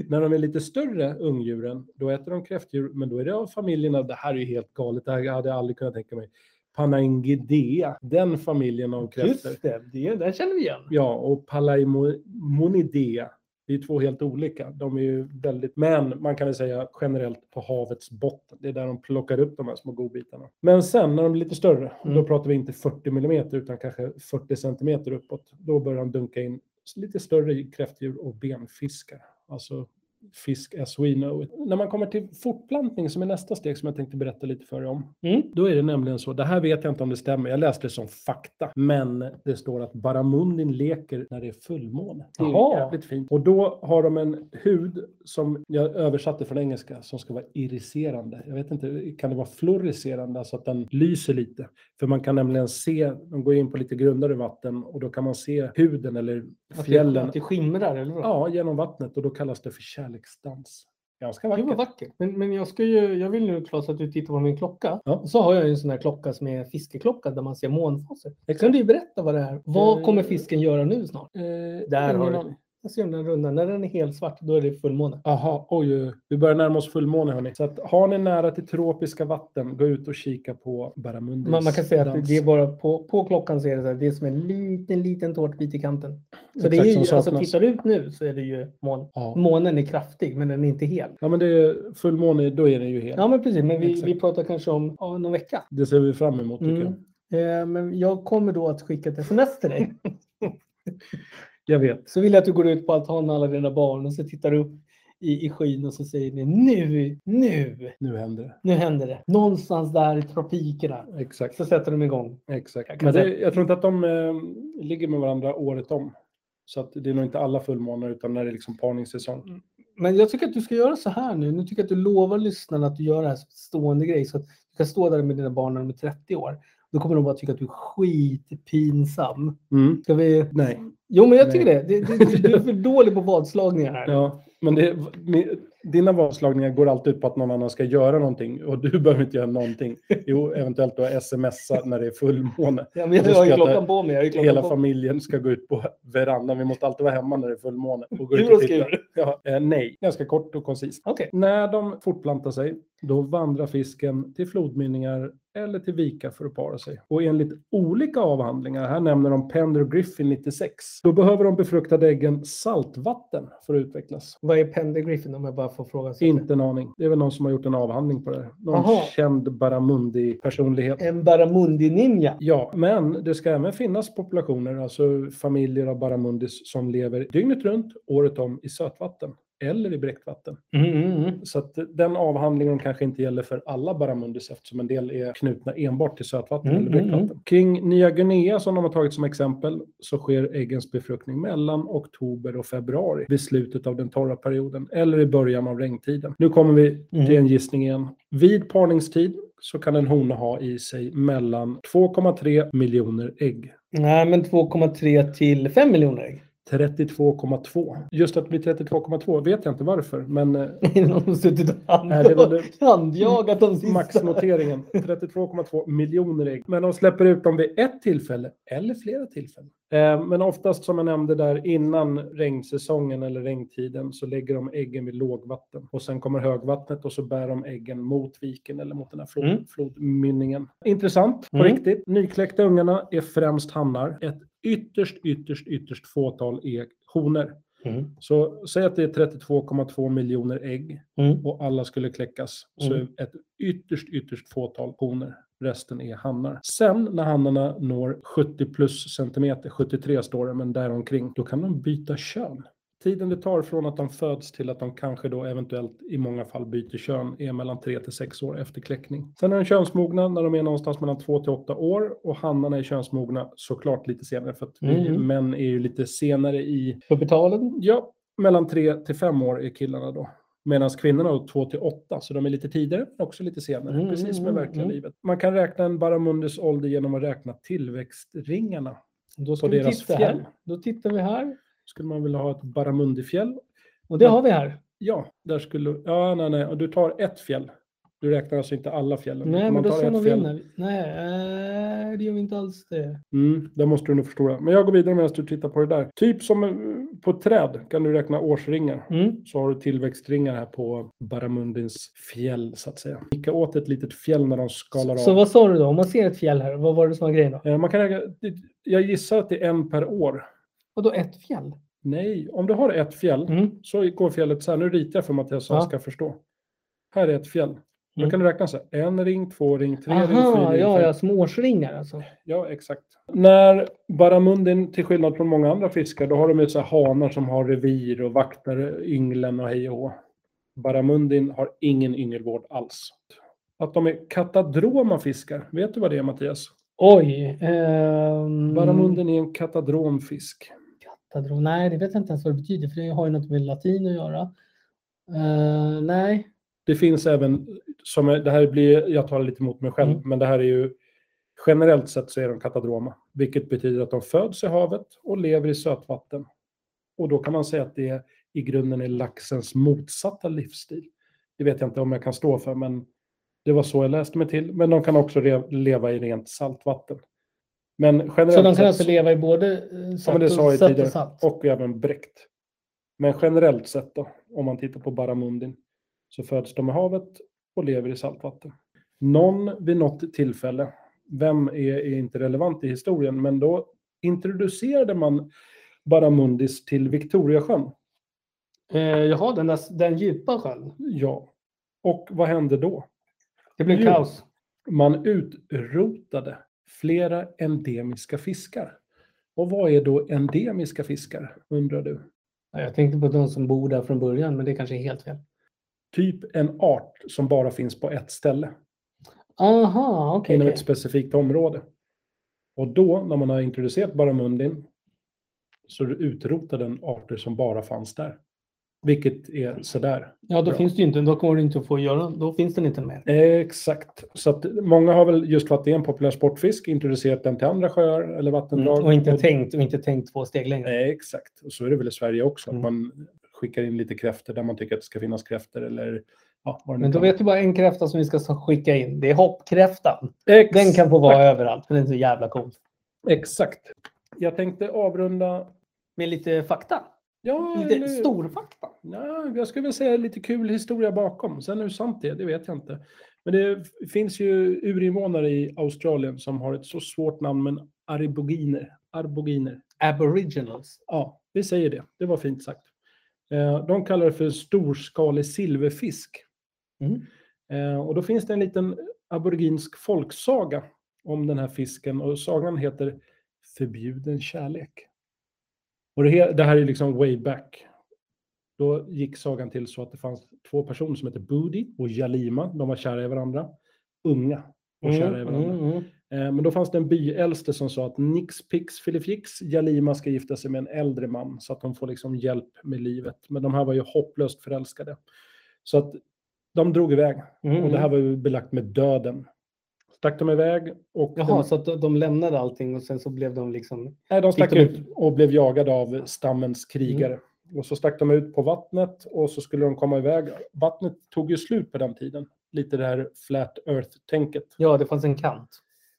När de är lite större, ungdjuren, då äter de kräftdjur. Men då är det av familjen av, det här är ju helt galet, det här hade jag aldrig kunnat tänka mig. Panaingidea, den familjen av kräftor. Just det, det, den känner vi igen. Ja, och Palaemonidea. Det är två helt olika. De är ju väldigt, men man kan väl säga generellt på havets botten. Det är där de plockar upp de här små godbitarna. Men sen när de blir lite större, då Mm. pratar vi inte 40 millimeter utan kanske 40 centimeter uppåt. Då börjar de dunka in lite större kräftdjur och benfiskar. Alltså fisk as we know it. När man kommer till fortplantning som är nästa steg som jag tänkte berätta lite för er om. Mm. Då är det nämligen så, det här vet jag inte om det stämmer, jag läste det som fakta, men det står att baramundin leker när det är fullmåne. Det är Jaha. jävligt fint. Och då har de en hud som jag översatte från engelska som ska vara iriserande. Jag vet inte, kan det vara fluorescerande, alltså att den lyser lite? För man kan nämligen se, de går in på lite grundare vatten och då kan man se huden eller Att det, fjällen att det skimrar, eller vad? ja, genom vattnet och då kallas det för kärleksdans. Ganska Det var vackert. vackert. Men, men jag, ska ju, jag vill nu Claes att du tittar på min klocka. Ja. Och så har jag ju en sån här klocka som är fiskeklocka där man ser månfaser. Exakt. Kan du berätta vad det är? Vad Eh, kommer fisken göra nu snart? Eh, Där ingen har du. aning. Jag ser den här rundan. När den är helt svart då är det fullmåne. Jaha, oj, oj, oj. Vi börjar närma oss fullmåne hörni. Så att, har ni nära till tropiska vatten, gå ut och kika på Baramundis Man, man kan säga att dans. det är bara på, på klockan så är det, så här, det är som en liten, liten tårtbit i kanten. Så det Exakt är ju, som alltså, saknas. tittar du ut nu så är det ju moln. Ja. Månen är kraftig men den är inte hel. ja, men det är fullmåne, då är det ju helt. Ja men precis, men vi, Exakt. vi pratar kanske om ja, någon vecka. Det ser vi fram emot tycker jag. Mm. Eh, men jag kommer då att skicka ett sms till dig. Jag vet. Så vill jag att du går ut på altanen med alla dina barn och så tittar du upp i, i skyn och så säger ni nu, nu, Nu händer det. nu händer det. Någonstans där i tropikerna. Exakt. Så sätter de igång. Exakt. Jag Jag, kan men det, säga- jag tror inte att de eh, ligger med varandra året om. Så att det är nog inte alla fullmånar utan när det är liksom parningssäsong. Men jag tycker att du ska göra så här nu. Nu tycker jag att du lovar lyssnarna att du gör det här som en stående grej så att du kan stå där med dina barn när de är 30 år. Då kommer de bara tycka att du är skitpinsam. Mm. Ska vi Nej, Jo, men jag tycker det. Du, du, du, du är för dålig på vadslagningar här. Ja, men det, med- dina vadslagningar går alltid ut på att någon annan ska göra någonting och du behöver inte göra någonting. Jo, eventuellt då smsa när det är fullmåne. Ja, men jag, Då har ska ju jag ta- klockan på mig. Jag har ju klockan Hela på familjen ska gå ut på verandan. Vi måste alltid vara hemma när det är fullmåne. Och gå mig. ut Hur och och titta. skriver. Ja, eh, nej, ganska kort och koncist. Okej. När de fortplantar sig, då vandrar fisken till flodmynningar eller till vika för att para sig. Och enligt olika avhandlingar, här nämner de Pender och Griffin 96, då behöver de befruktade äggen saltvatten för att utvecklas. Vad är Pender Griffin om jag bara får fråga? Så? Inte en aning. Det är väl någon som har gjort en avhandling på det här. Någon Aha. känd Barramundi-personlighet. En Barramundi Ninja. Ja, men det ska även finnas populationer, alltså familjer av barramundis som lever dygnet runt, året om i sötvatten eller i bräckvatten. Så att den avhandlingen kanske inte gäller för alla barramundis eftersom en del är knutna enbart till sötvatten Mm, eller bräckvatten. mm, Kring Nya Guinea som de har tagit som exempel så sker äggens befruktning mellan oktober och februari vid slutet av den torra perioden eller i början av regntiden. Nu kommer vi Mm. till en gissning igen. Vid parningstid så kan en hona ha i sig mellan 2,3 miljoner ägg. Nej, men 2,3 till 5 miljoner ägg. 32,2. Just att det blir 32,2 vet jag inte varför, men eh, Någon har suttit och Nej, det var handjag- du. handjagat de sista. Maxnoteringen 32,2 miljoner ägg. Men de släpper ut dem vid ett tillfälle eller flera tillfällen. Eh, Men oftast som jag nämnde där innan regnsäsongen eller regntiden så lägger de äggen vid lågvatten och sen kommer högvattnet och så bär de äggen mot viken eller mot den här flod, Mm. flodmynningen. Intressant på Mm. riktigt. Nykläckta ungarna är främst hannar. Ett ytterst, ytterst, ytterst fåtal är honor. Mm. Så säg att det är 32,2 miljoner ägg Mm. och alla skulle kläckas. Mm. Så ett ytterst, ytterst fåtal honor. Resten är hannar. Sen när hannarna når 70 plus centimeter, 73 står det, men däromkring, då kan de byta kön. Tiden det tar från att de föds till att de kanske då eventuellt i många fall byter kön är mellan 3 till 6 år efter kläckning. Sen är de könsmogna när de är någonstans mellan 2 till 8 år och hannarna är könsmogna såklart lite senare för att vi Mm. män är ju lite senare i Pubertalen? Ja, mellan 3 till 5 år är killarna då. Medan kvinnorna är 2 till 8, så de är lite tidigare, men också lite senare, Mm, precis som i mm, verkliga mm. livet. Man kan räkna en barramundis ålder genom att räkna tillväxtringarna Då ska på vi deras titta fjäll. här. Då tittar vi här. Skulle man vilja ha ett barramundifjäll? Och det har vi här. Ja, där skulle... Ja, nej, nej. Och du tar ett fjäll. Du räknar alltså inte alla fjällen. Nej, man men då tar ska ett man fjäll. vinna. Nej, eh, det gör vi inte alls det. Mm, det måste du nog förstå. Men jag går vidare medan du tittar på det där. Typ som eh, på ett träd kan du räkna årsringar. Mm. så har du tillväxtringar här på Barramundins fjäll så att säga. Vicka åt ett litet fjäll när de skalar Så av. vad sa du då? Om man ser ett fjäll här, vad var det som var grejen då? Eh, Man kan äga, jag gissar att det är en per år. Vadå ett fjäll? Nej, om du har ett fjäll Mm. så går fjället så här. Nu ritar jag för Mattias så han Ja. ska förstå. Här är ett fjäll. Då Mm. kan du räkna så här. En ring, två ring, tre ring, fyra Aha, ring. ja, fem. ja, småårsringar alltså. Ja, exakt. När barramundin, till skillnad från många andra fiskar, då har de ju så här hanar som har revir och vaktar ynglen och hej och hå. Barramundin har ingen yngelvård alls. Att de är katadroma fiskar, vet du vad det är Mattias? Oj. ehm, Barramundin är en katadromfisk. Kattadro. Nej, det vet jag inte ens vad det betyder, för det har ju något med latin att göra. Eh, nej. Det finns även, som är, det här blir, jag talar lite mot mig själv, Mm. men det här är ju generellt sett så är de katadroma, vilket betyder att de föds i havet och lever i sötvatten. Och då kan man säga att det i grunden är laxens motsatta livsstil. Det vet jag inte om jag kan stå för, men det var så jag läste mig till. Men de kan också re- leva i rent saltvatten. Men generellt Så de kan sett- alltså leva i både eh, Ja, men sött det sa och, jag sött och tidigare. salt? Och även bräckt. Men generellt sett då, om man tittar på barramundin, så föds de i havet och lever i saltvatten. Någon vid något tillfälle, vem är, är inte relevant i historien, men då introducerade man barramundis till Victoriasjön. Eh, jaha, den, där, den djupa sjön. Ja. Och vad hände då? Det blev Jo. kaos. Man utrotade flera endemiska fiskar. Och vad är då endemiska fiskar, undrar du? Ja, Jag tänkte på de som bor där från början, men det kanske är helt fel. typ en art som bara finns på ett ställe Aha, okej. inom okej. ett specifikt område. Och då, när man har introducerat barramundin, så utrotar den arter som bara fanns där. Vilket är sådär. Ja, då Bra. finns det ju inte, då kommer du inte att få göra, då finns den inte mer. Exakt. Så att många har väl just för att det är en populär sportfisk introducerat den till andra sjöar eller vattendrag. Mm, Och inte tänkt, och inte tänkt två steg längre. Nej, exakt. Och så är det väl i Sverige också. att Mm. Man skickar in lite kräfter där man tycker att det ska finnas kräfter eller ja, vad det nu Men då kan vet du bara en kräfta som vi ska skicka in. Det är hoppkräftan. vara. Ex- Den kan få vara överallt, för den är så jävla cool. Exakt. Jag tänkte avrunda. Med lite fakta. Ja, Lite eller- stor fakta. Nej, jag skulle vilja säga lite kul historia bakom. Sen hur sant det är, det vet jag inte. Men det f- finns ju urinvånare i Australien som har ett så svårt namn, men ariboginer. Arboginer. Aboriginals. Ja, vi säger det. Det var fint sagt. Eh, De kallar det för storskalig silverfisk. Mm. Eh, Och då finns det en liten aboriginsk folksaga om den här fisken och sagan heter Förbjuden kärlek. Och det, he- det här är liksom way back. Då gick sagan till så att det fanns två personer som hette Budi och Jalima. De var kära i varandra. Unga och Mm, kära i varandra. mm, mm. Eh, Men då fanns det en byäldste som sa att Nix Pix Filifix, Jalima ska gifta sig med en äldre man så att hon får liksom hjälp med livet. Men de här var ju hopplöst förälskade. Så att de drog iväg Mm. och det här var ju belagt med döden. Stack de iväg och Jaha, de, så att de- de lämnade allting och sen så blev de liksom... nej, de stack Gick de Mm. ut och blev jagade av stammens krigare. Och så stack de ut på vattnet och så skulle de komma iväg. Vattnet tog ju slut på den tiden. Lite det här flat earth-tänket. Ja, det fanns en kant.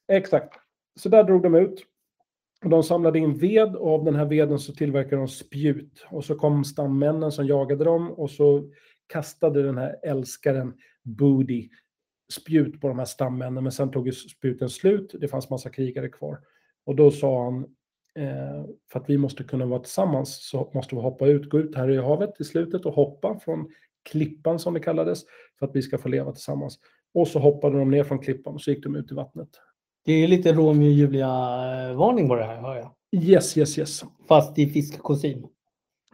Exakt. Så där drog de ut. Och de samlade in ved och av den här veden så tillverkade de spjut. Och så kom stammännen som jagade dem och så kastade den här älskaren Booty spjut på de här stammännen. Men sen tog ju spjuten slut. Det fanns massa krigare kvar. Och då sa han, eh, för att vi måste kunna vara tillsammans så måste vi hoppa ut, gå ut här i havet i slutet och hoppa från klippan som det kallades för att vi ska få leva tillsammans. Och så hoppade de ner från klippan och så gick de ut i vattnet. Det är lite Romeo och Julia-varning på det här, hör jag. Yes, yes, yes. Fast i fiskekostym.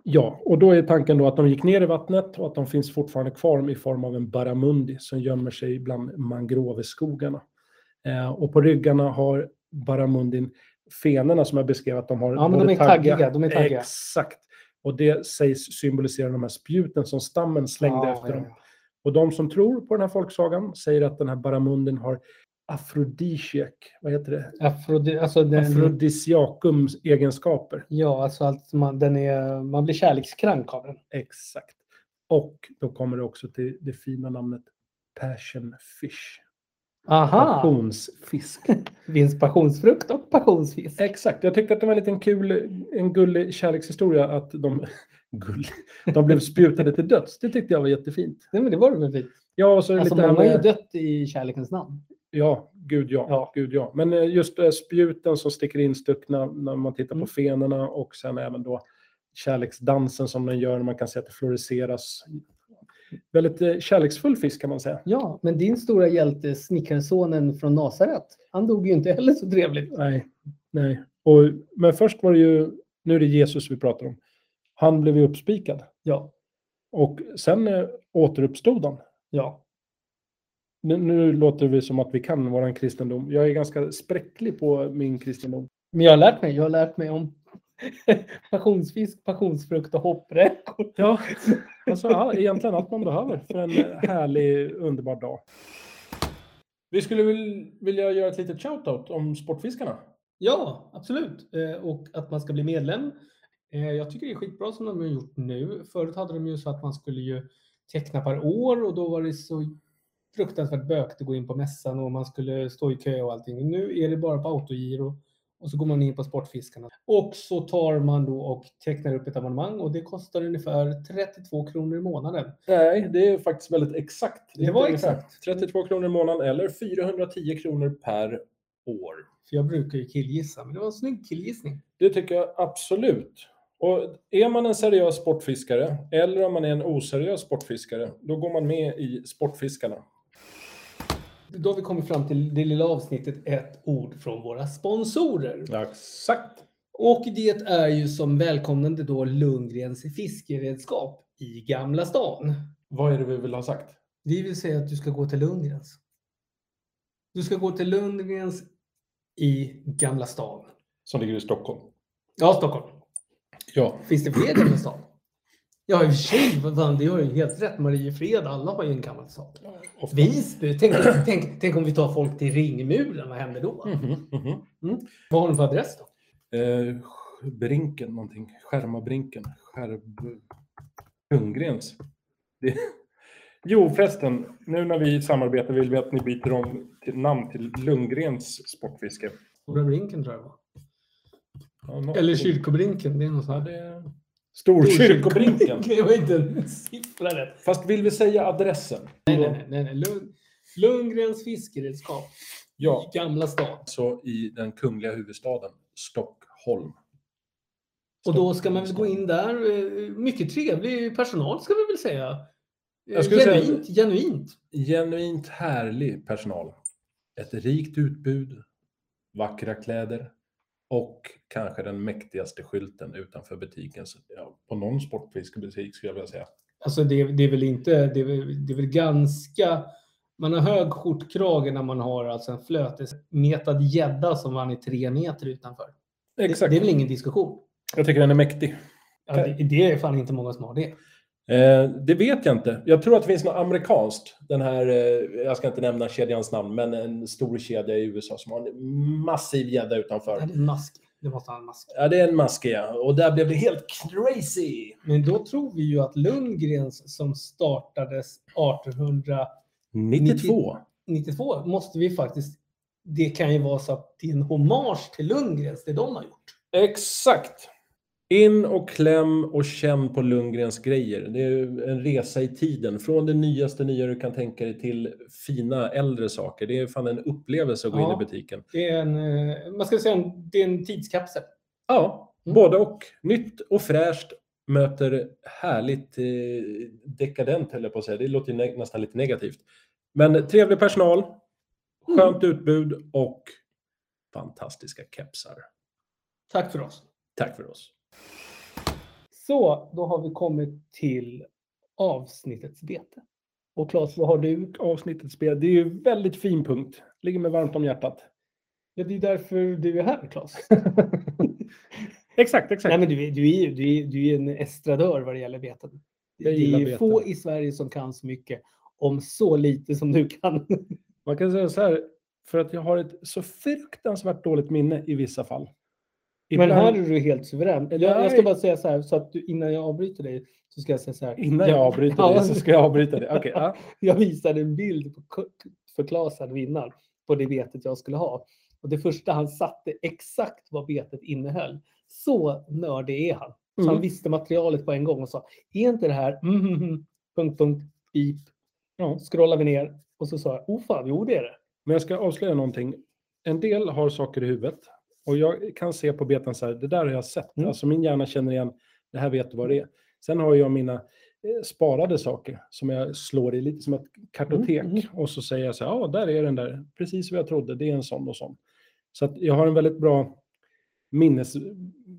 Ja, och då är tanken då att de gick ner i vattnet och att de finns fortfarande kvar i form av en barramundi som gömmer sig bland mangroveskogarna. Eh, och på ryggarna har barramundin fenorna som jag beskrev att de har. Ja, men de både är taggiga, de är taggiga. Exakt. Och det sägs symbolisera de här spjuten som stammen slängde Ja, efter ja, dem. ja. Och de som tror på den här folksagan säger att den här barramundin har afrodisiak, vad heter det? Afrodi- alltså den, Afrodisiakums egenskaper. ja, alltså att man, den är, man blir kärlekskrank av den. Exakt. Och då kommer det också till det fina namnet passion fish. Aha! Passionsfisk. Det finns passionsfrukt och passionsfisk. Exakt. Jag tyckte att det var en liten kul, en gullig kärlekshistoria att de, gull, de blev spjutade till döds. Det tyckte jag var jättefint. Nej, men det var det väl fint. Ja, och så är det Alltså, lite man här har ju med, dött i kärlekens namn. ja, gud ja, Ja. gud ja. Men eh, just eh, spjuten som sticker instuckna när man tittar Mm. på fenorna och sen även då kärleksdansen som den gör när man kan se att det floriseras. Väldigt eh, kärleksfull fisk kan man säga. Ja, men din stora hjälte, snickarsonen från Nasaret, han dog ju inte heller så trevligt. Nej, nej. Och, men först var det ju, nu är det Jesus vi pratar om. Han blev ju uppspikad Ja, och sen eh, återuppstod han. ja. Nu, nu låter vi som att vi kan våran kristendom. Jag är ganska spräcklig på min kristendom. Men jag har lärt mig. Jag har lärt mig om passionsfisk, passionsfrukt och hoppräkor. Ja, alltså ja, egentligen allt man behöver för en eh, härlig, underbar dag. Vi skulle vill, vilja göra ett litet shout-out om Sportfiskarna. Ja, absolut. Eh, Och att man ska bli medlem. Eh, Jag tycker det är skitbra som de har gjort nu. Förut hade de ju så att man skulle ju teckna per år och då var det så fruktansvärt bökigt att gå in på mässan och man skulle stå i kö och allting. Nu är det bara på autogiro och så går man in på Sportfiskarna. Och så tar man då och tecknar upp ett abonnemang och det kostar ungefär 32 kronor i månaden. Nej, det är faktiskt väldigt exakt. Det var exakt. 32 kronor i månaden eller 410 kronor per år. För jag brukar ju killgissa, men det var en snygg killgissning. Det tycker jag absolut. Och är man en seriös sportfiskare eller om man är en oseriös sportfiskare, då går man med i Sportfiskarna. Då har vi kommit fram till det lilla avsnittet ett ord från våra sponsorer. Exakt. Och det är ju som välkomnande då Lundgrens fiskeredskap i Gamla stan. Vad är det vi vill ha sagt? Vi vill säga att du ska gå till Lundgrens. Du ska gå till Lundgrens i Gamla stan. Som ligger i Stockholm. Ja, Stockholm. Ja. Finns det fler i Gamla stan? Ja, i och för sig. Vad fan, det har ju helt rätt. Mariefred, alla har ju en gammal sak. Visby. Tänk, tänk, tänk om vi tar folk till ringmuren. Vad händer då? Mhm, mhm. Vad har de för adress då? Eh, brinken någonting. Skärmabrinken. Skärb... Ljunggrens. Det... Jo förresten, nu när vi samarbetar vill vi att ni byter om till namn till Lundgrens Sportfiske. Stora Brinken tror jag det var. Ja, nå- Eller Kyrkobrinken. Det är något sånt. Det- Storkyrkobrinken. Det var inte en siffra rätt. Fast vill vi säga adressen? Nej, nej, nej, nej. nej. Lund, Lundgrens fiskeredskap. Ja, I Gamla stad. så i den kungliga huvudstaden Stockholm. Och då ska man väl gå in där. eh, Mycket trevlig personal ska vi väl säga. Eh, Jag skulle säga- genuint, genuint. Genuint härlig personal. Ett rikt utbud, vackra kläder och kanske den mäktigaste skylten utanför butiken. Så, ja, på någon sportfiskebutik skulle jag vilja säga. Alltså det, det är väl inte, det är väl, det är väl ganska, man har hög skjortkrage när man har alltså en flötesmetad gädda som man är tre meter utanför. Det, Exakt. det är väl ingen diskussion. Jag tycker den är mäktig. Ja, det, det är fan inte många som har det. Eh, det vet jag inte. Jag tror att det finns något amerikanskt. Den här, eh, jag ska inte nämna kedjans namn, men en stor kedja i USA som har en massiv gädda Det utanför. är en mask. Det måste ha en mask. Ja, det är en maskig ja. Och där blev det helt crazy! Men då tror vi ju att Lundgrens som startades 1892 92. måste vi faktiskt, det kan ju vara så att det är en hommage till Lundgrens, det de har gjort. Exakt. In och kläm och känn på Lundgrens grejer. Det är ju en resa i tiden. Från det nyaste nya du kan tänka dig till fina äldre saker. Det är fan en upplevelse att gå Ja. in i butiken. Det är en, eh, man ska säga en, det är en tidskapsel. Ja, Mm. både och. Nytt och fräscht möter härligt eh, dekadent, höll jag på att säga. Det låter ju nä- nästan lite negativt. Men trevlig personal, Mm. skönt utbud och fantastiska kepsar. Tack för oss. Tack för oss. Så, då har vi kommit till avsnittets bete. Och Claes, vad har du? avsnittets spel. Det är ju en väldigt fin punkt. Ligger mig varmt om hjärtat. Ja, det är därför du är här, Claes. Exakt, exakt. Nej, men du, är- du, är, ju- du, är, du är en estradör vad det gäller beten. Det Jag är gillar ju beten. få i Sverige som kan så mycket om så lite som du kan. Man kan säga så här, för att jag har ett så fruktansvärt dåligt minne i vissa fall. Men Ibland- här är du helt suverän. Jag, jag ska Nej. bara säga så här, så att du, innan jag avbryter dig, så ska jag säga så här. Innan jag avbryter Ja. Mm. dig så ska jag avbryta dig. Okej, ja. Jag visade en bild på, Ku- för Claes här innan på det betet jag skulle ha. Och det första han satte exakt vad betet innehöll. Så nördig är han. Så Mm. han visste materialet på en gång och sa, är inte det här mm, mm, mm, punkt, punkt, pip. Ja. Scrollar vi ner och så sa jag, oh fan, jo det är det. Men jag ska avslöja någonting. En del har saker i huvudet och jag kan se på betan så här, det där har jag sett. Mm. Alltså min hjärna känner igen, det här vet du vad det är. Sen har jag mina eh, sparade saker som jag slår i lite som ett kartotek Mm, mm. och så säger jag så här, ja där är den där, precis vad jag trodde, det är en sån och sån. Så att jag har en väldigt bra minnes,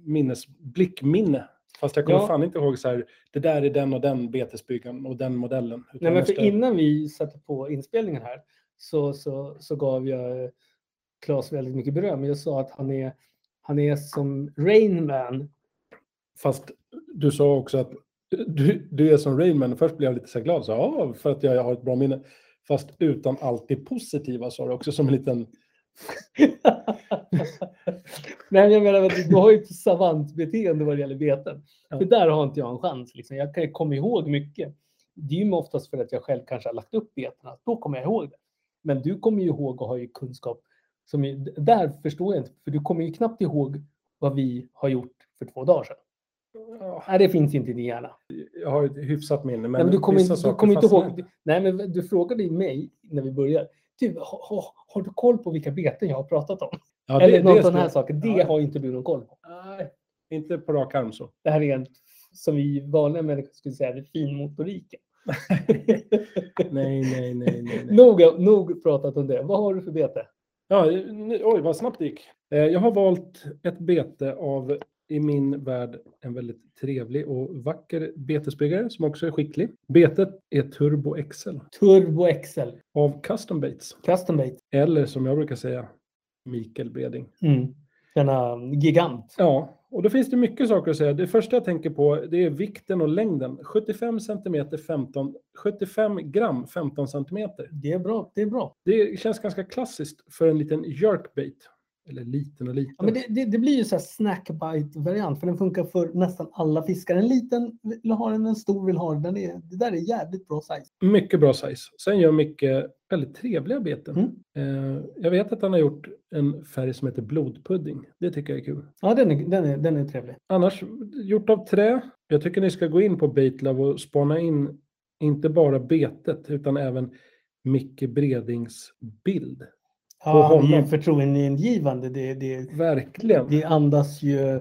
minnes, blickminne. Fast jag kommer Ja. fan inte ihåg så här, det där är den och den betesbyggaren och den modellen. Utan Nej, men jag för ska- innan vi satte på inspelningen här så, så, så gav jag eh, Claes väldigt mycket beröm. Jag sa att han är, han är som Rain Man Fast du sa också att du, du är som Rainman. Först blev jag lite så här glad, så, ja, för att jag, jag har ett bra minne. Fast utan allt det positiva sa du också som en liten... Nej, men jag menar att du har ju ett savantbeteende vad det gäller beten. Ja. För där har inte jag en chans. Liksom. Jag kan komma ihåg mycket. Det är ju oftast för att jag själv kanske har lagt upp betena. Då kommer jag ihåg det. Men du kommer ju ihåg och har ju kunskap. Som ju, där förstår jag inte. För du kommer ju knappt ihåg vad vi har gjort för två dagar sedan. Ja, Nej, det finns inte i din hjärna. Jag har ett hyfsat minne, men, Nej, men du kommer, vissa inte- du saker kommer inte fastnar ihåg. Nej, men du frågade ju mig när vi började. Du, ha, ha, har du koll på vilka beten jag har pratat om? Ja, det- Eller det någon sån skulle- här sak. Det Ja. har ju inte du någon koll på. Nej, inte på rak arm så. Det här är en, som vi vanliga människor skulle säga, det är finmotoriken. Nej, nej, nej, nej. nej. nog, nog pratat om det. Vad har du för bete? Ja, nu, oj, vad snabbt det gick. Eh, Jag har valt ett bete av, i min värld, en väldigt trevlig och vacker betesbyggare som också är skicklig. Betet är Turbo XL Turbo Excel, av Custom Baits. custom bait. Eller som jag brukar säga, Mikael Breding. Denna Mm. gigant. Ja, Och då finns det mycket saker att säga. Det första jag tänker på det är vikten och längden. 75 centimeter 15, 75 gram 15 centimeter. Det är bra. Det är bra. Det känns ganska klassiskt för en liten jerkbait. Eller liten och liten. Ja, men det, det, det blir ju så här snackbite-variant för den funkar för nästan alla fiskar. En liten vill ha den, en stor vill ha den. den. Är, det där är jävligt bra size. Mycket bra size. Sen gör Micke väldigt trevliga beten. Mm. Eh, jag vet att han har gjort en färg som heter blodpudding. Det tycker jag är kul. Ja, den är, den är, den är trevlig. Annars, gjort av trä. Jag tycker ni ska gå in på Baitlab och spana in inte bara betet utan även Micke Bredings bild. Ja, På han är ju honom. förtroendeingivande. Det, det, Verkligen. det andas ju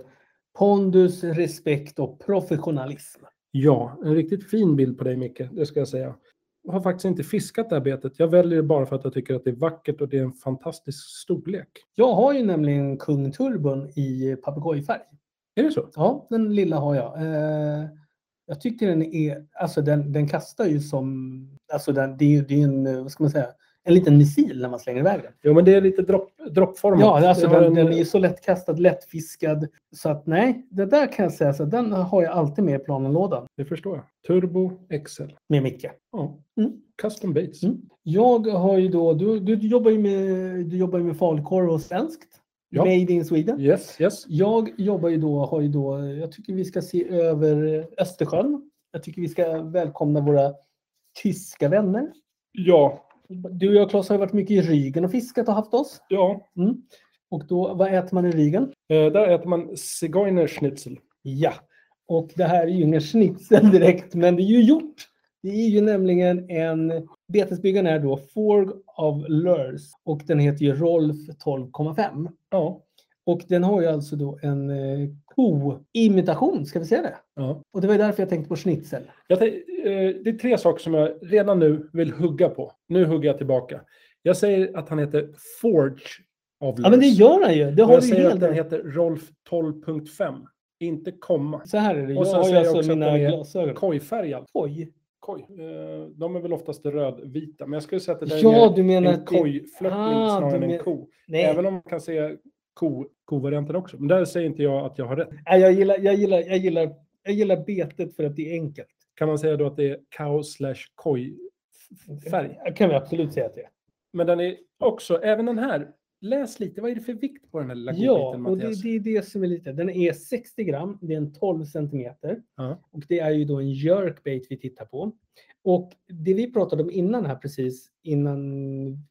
pondus, respekt och professionalism. Ja, en riktigt fin bild på dig Micke, det ska jag säga. Jag har faktiskt inte fiskat det här betet. Jag väljer det bara för att jag tycker att det är vackert och det är en fantastisk storlek. Jag har ju nämligen Kung Turbon i papegojfärg. Är det så? Ja, den lilla har jag. Eh, jag tycker den är, alltså den, den kastar ju som, alltså den, det är ju det är ju en, eh, vad ska man säga, en liten missil när man slänger iväg den. Jo, men det är lite dropp, droppformat. Ja, alltså Mm. Jag har den, en- den är ju så lättkastad, lättfiskad. Så att nej, det där kan jag säga, så att den har jag alltid med i planenlådan Det förstår jag. Turbo XL. med Micke. Ja. Mm. Custom baits. Mm. Jag har ju då, du, du jobbar ju med, du jobbar ju med falukorv och svenskt. Ja. Made in Sweden. Yes, yes. Jag jobbar ju då, har ju då, jag tycker vi ska se över Östersjön. Jag tycker vi ska välkomna våra tyska vänner. Ja, Du och jag Claes har ju varit mycket i Rügen och fiskat och haft oss. ja. Mm. Och då, vad äter man i Rügen? Eh, där äter man zigeunerschnitzel. Ja, och det här är ju ingen schnitzel direkt, men det är ju gjort. Det är ju nämligen en, betesbyggaren är då Forg of Lurs och den heter ju Rolf 12,5. Ja. Och den har ju alltså då en eh, ko-imitation, ska vi säga det? ja. Och det var ju därför jag tänkte på schnitzel. Jag tän- eh, det är tre saker som jag redan nu vill hugga på. Nu hugger jag tillbaka. Jag säger att han heter Forge of Ja, men det Lars. gör han ju. Det Och har jag du ju säger helt att den rätt. heter Rolf 12.5. Inte komma. Så här är det. Och Jag sen har ju säger jag också alltså att mina den är glasögon. Kojfärgad. Koj. Koj. Eh, De är väl oftast rödvita. Men jag skulle säga att det där Ja, är du mer menar en att det... kojflörtning Ah, snarare du än en men- ko. Nej, Även om man kan se ko, kovarianten också. Men där säger inte jag att jag har rätt. Nej, jag gillar, jag gillar, jag gillar, jag gillar betet för att det är enkelt. Kan man säga då att det är kao slash kojfärg? Det kan vi absolut säga att det är. Men den är också, även den här. Läs lite, vad är det för vikt på den här lilla Ja, godbiten och det, Mattias? det är det som är lite. Den är 60 gram, det är en 12 centimeter. Ja. Och det är ju då en jerkbait vi tittar på. Och det vi pratade om innan här precis, innan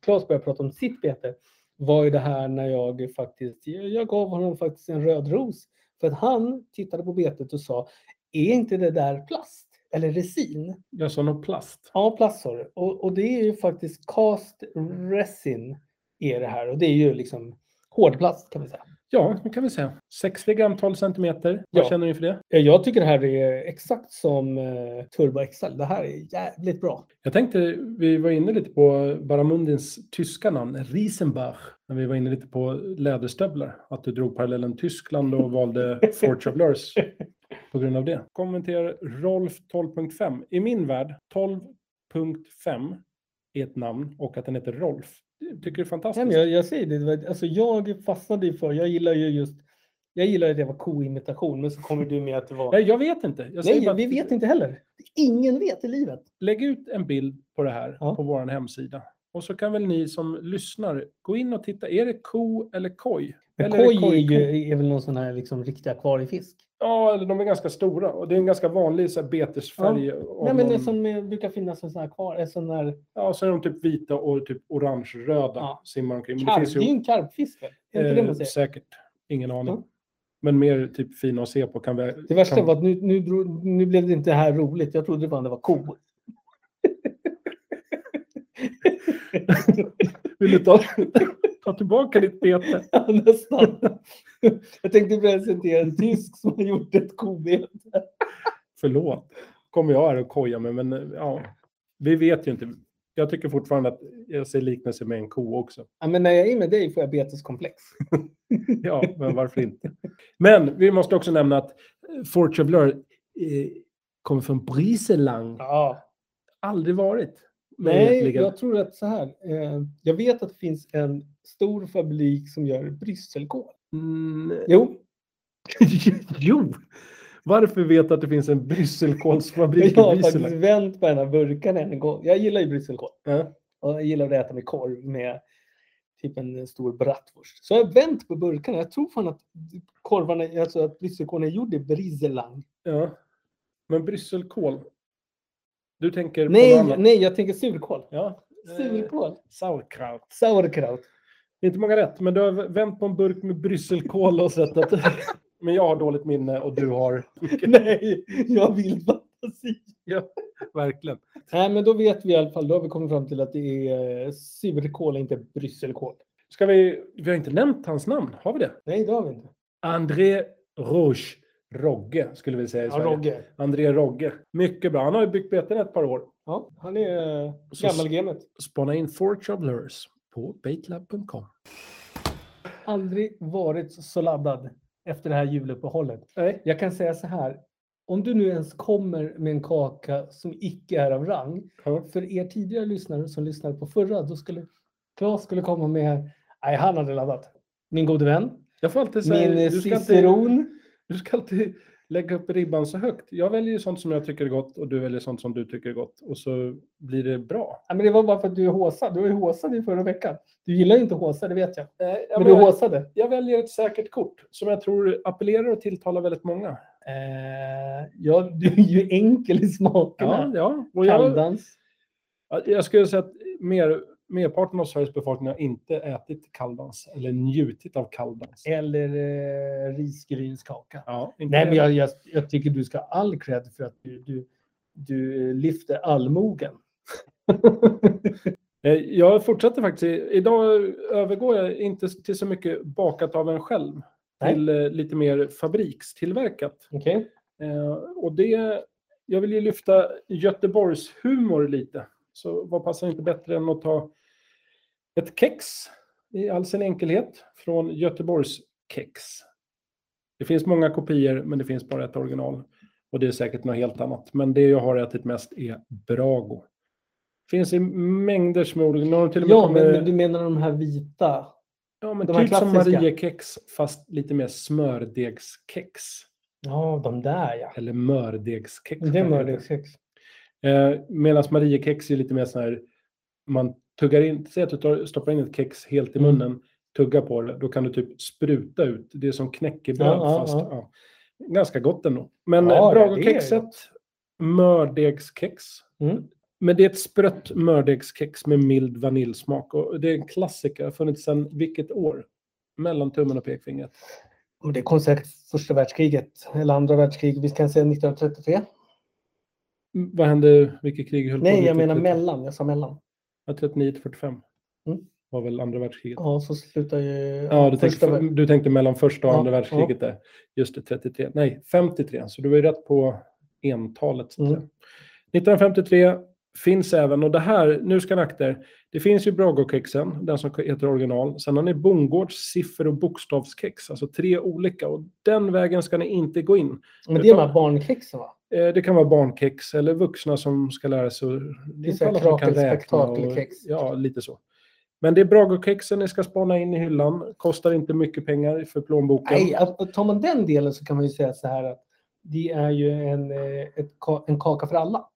Claes började prata om sitt bete, var ju det här när jag faktiskt, jag gav honom faktiskt en röd ros. För att han tittade på betet och sa, är inte det där plast? Eller resin? Jag sa någon plast. Ja, plastsår. Och, och det är ju faktiskt cast resin är det här. Och det är ju liksom hårdplast kan vi säga. Ja, det kan vi säga. 60 gram 12 centimeter. Vad Ja. känner ni för det? Eh, Jag tycker det här är exakt som eh, Turbo XL. Det här är jävligt bra. Jag tänkte, vi var inne lite på Baramundins tyska namn, Riesenbach, när vi var inne lite på läderstövlar. Att du drog parallellen Tyskland och valde Forge of Lurs på grund av det. Kommenterar Rolf 12.5. I min värld, 12.5 är ett namn och att den heter Rolf. Jag tycker det är Nej, fantastiskt. men jag, jag säger det, det, var- alltså jag fastnade ju för, jag gillar ju just, jag gillar att det var koimitation, men så kommer du med att det var... Nej, jag vet inte. Jag säger bara Nej, att- vi vet inte heller. Ingen vet i livet. lägg ut en bild på det här Ja. på vår hemsida. Och så kan väl ni som lyssnar gå in och titta. Är det ko eller koj? Men Eller är det koi är, koi-ko? ju, är väl någon sån här liksom riktig akvariefisk. Ja, eller de är ganska stora. Och det är en ganska vanlig så här, betesfärg. av Nej, men det någon- som eh, brukar finnas en sån här akvarie, sån här... Ja, så är de typ vita och typ orange-röda Ja. simmar omkring. Men det Karp, finns det är ju ju en karpfisk väl? Är inte det man eh, säger? säkert. Ingen aning. Ja. Men mer typ fina att se på. Kan vi, Det värsta kan... var att nu, nu, drog- nu blev det inte här roligt. Jag trodde bara det var ko. Vill du ta, ta tillbaka ditt bete? Ja, nästan. Jag tänkte presentera en tysk som har gjort ett kobete. Förlåt. Kommer jag här och koja mig, men eh, ja. Vi vet ju inte. Jag tycker fortfarande att jag ser liknelse med en ko också. Ja, men när jag är med dig får jag beteskomplex. Ja, men varför inte? Men vi måste också nämna att Forge of Lure eh, kommer från Briselang. Ja. Aldrig varit. mig Nej, veterligen. jag tror att så här. Eh, jag vet att det finns en stor fabrik som gör brysselkål. Mm, Jo, jo! Varför vet att det finns en brysselkålsfabrik Jag i har Brysseln? faktiskt vänt på den här burkan en gång. Jag gillar ju brysselkål. Ja. Och jag gillar att äta med korv med typ en stor bratwurst. Så jag har vänt på burkarna. Jag tror fan att korvarna, alltså att brysselkålen är gjord i briselang. Ja. Men brysselkål? Du tänker på något Nej, annat? nej, jag tänker surkål. Ja. Eh, Surkål. sauerkraut. Sauerkraut. Inte många rätt, men du har vänt på en burk med brysselkål och sett att... men jag har dåligt minne och du har... Nej, jag vill fantasi. Verkligen. Nej, men då vet vi i alla fall. Då har vi kommit fram till att det är eh, surkål, inte brysselkål. Ska vi... Vi har inte nämnt hans namn, har vi det? Nej, det har vi inte. André Rouge. Rogge skulle vi säga i Ja, Sverige. Rogge. André André Rogge. Mycket bra. Han har ju byggt beten ett par år. Ja, han är eh, Så- gammalgamet. Spana in Four Travelers på baitlab.com. Aldrig varit så laddad efter det här juluppehållet. Nej. Jag kan säga så här. Om du nu ens kommer med en kaka som icke är av rang. Ja. För er tidigare lyssnare som lyssnade på förra, då skulle Claes skulle komma med här. Nej, han hade laddat. Min gode vän, Jag får alltid säga... min eh, du, ska alltid, ciceron. du ska alltid lägga upp ribban så högt. Jag väljer ju sånt som jag tycker är gott och du väljer sånt som du tycker är gott. Och så blir det bra. Ja, men det var bara för att du är håsad. Du var ju håsad i förra veckan. Du gillar ju inte håsa, det vet jag. Nej, Men du håsade. Eh, jag väljer ett säkert kort som jag tror appellerar och tilltalar väldigt många. Eh, ja, du är ju enkel i Ja, smakerna. ja. Och jag, Kalldans. jag skulle säga att mer, merparten av Sveriges befolkning har inte ätit kalldans eller njutit av kalldans. Eller eh, risgrynskaka. Ja, inte Nej, men jag, jag, jag tycker du ska ha all cred för att du, du, du eh, lyfter allmogen. Eh, Jag fortsätter faktiskt. i- Idag övergår jag inte till så mycket bakat av en själv. Nej. Till eh, lite mer fabrikstillverkat. Okej. Eh, och det, jag vill ju lyfta Göteborgs humor lite. Så vad passar inte bättre än att ta ett kex i all sin enkelhet från Göteborgs kex. Det finns många kopior, men det finns bara ett original. Och det är säkert något helt annat. Men det jag har ätit mest är Brago. Finns i mängder små original. Nu har de till och med Ja, kommit- men, men du menar de här vita? ja, men de här typ som klassiska. Mariekex, fast lite mer smördegskex. Ja, de där ja. Eller mördegskex. Det är mördegskex. Eh, Medan Mariekex är lite mer så här, man tuggar in, säg att du tar, stoppar in ett kex helt i Mm. munnen, tuggar på det, då kan du typ spruta ut. Det är som knäckebröd Ja, ja, fast ja. ja. ganska gott ändå. Men eh, Ja, ja, det ja, är Bragokexet, mördegskex. Mm. Men det är ett sprött mördegskex med mild vaniljsmak och det är en klassiker, har funnits sedan vilket år? Mellan tummen och pekfingret. Och det kom säkert första världskriget eller andra världskriget. Vi kan säga 1933. Mm, Vad hände, vilket krig höll på? Nej, jag menar 1930? mellan. Jag sa mellan. Ja, 39 till 45 Mm. var väl andra världskriget. Ja, så slutar ju Ja, du första tänkte, världskriget. du tänkte mellan första och Ja, andra ja. världskriget där. Just det, 33. Nej, 53. Så du var ju rätt på entalet. Så att Mm. säga. 1953 finns även, och det här, nu ska ni akta er. Det finns ju Bragokexen, den som heter original. Sen har ni Bondgårds siffer och bokstavskex, alltså tre olika. Och den vägen ska ni inte gå in. Men det är de här barnkexen va? Eh, Det kan vara barnkex eller vuxna som ska lära sig. att- Det så här alla som kan krakel- räkna och- spektakelkex. Ja, lite så. Men det är Bragokexen ni ska spana in i hyllan. Kostar inte mycket pengar för plånboken. Nej, att- tar man den delen så kan man ju säga så här att det är ju en, eh, ett, ka- en kaka för alla.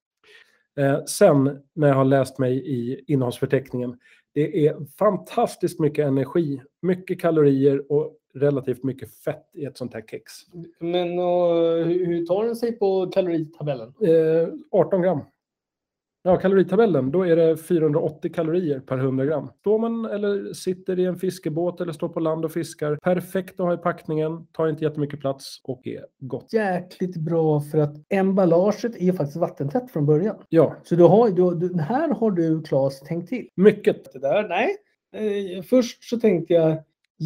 Eh, sen när jag har läst mig i innehållsförteckningen. Det är fantastiskt mycket energi, mycket kalorier och relativt mycket fett i ett sånt här kex. Men och, hur hur tar den sig på kaloritabellen? Eh, 18 gram. Ja, kaloritabellen, då är det 480 kalorier per 100 gram. Står man eller sitter i en fiskebåt eller står på land och fiskar, perfekt att ha i packningen, tar inte jättemycket plats och är gott. Jäkligt bra för att emballaget är faktiskt vattentätt från början. Ja, Så du har, du, du, här har du Claes tänkt till. mycket. Det där, nej. Eh, först så tänkte jag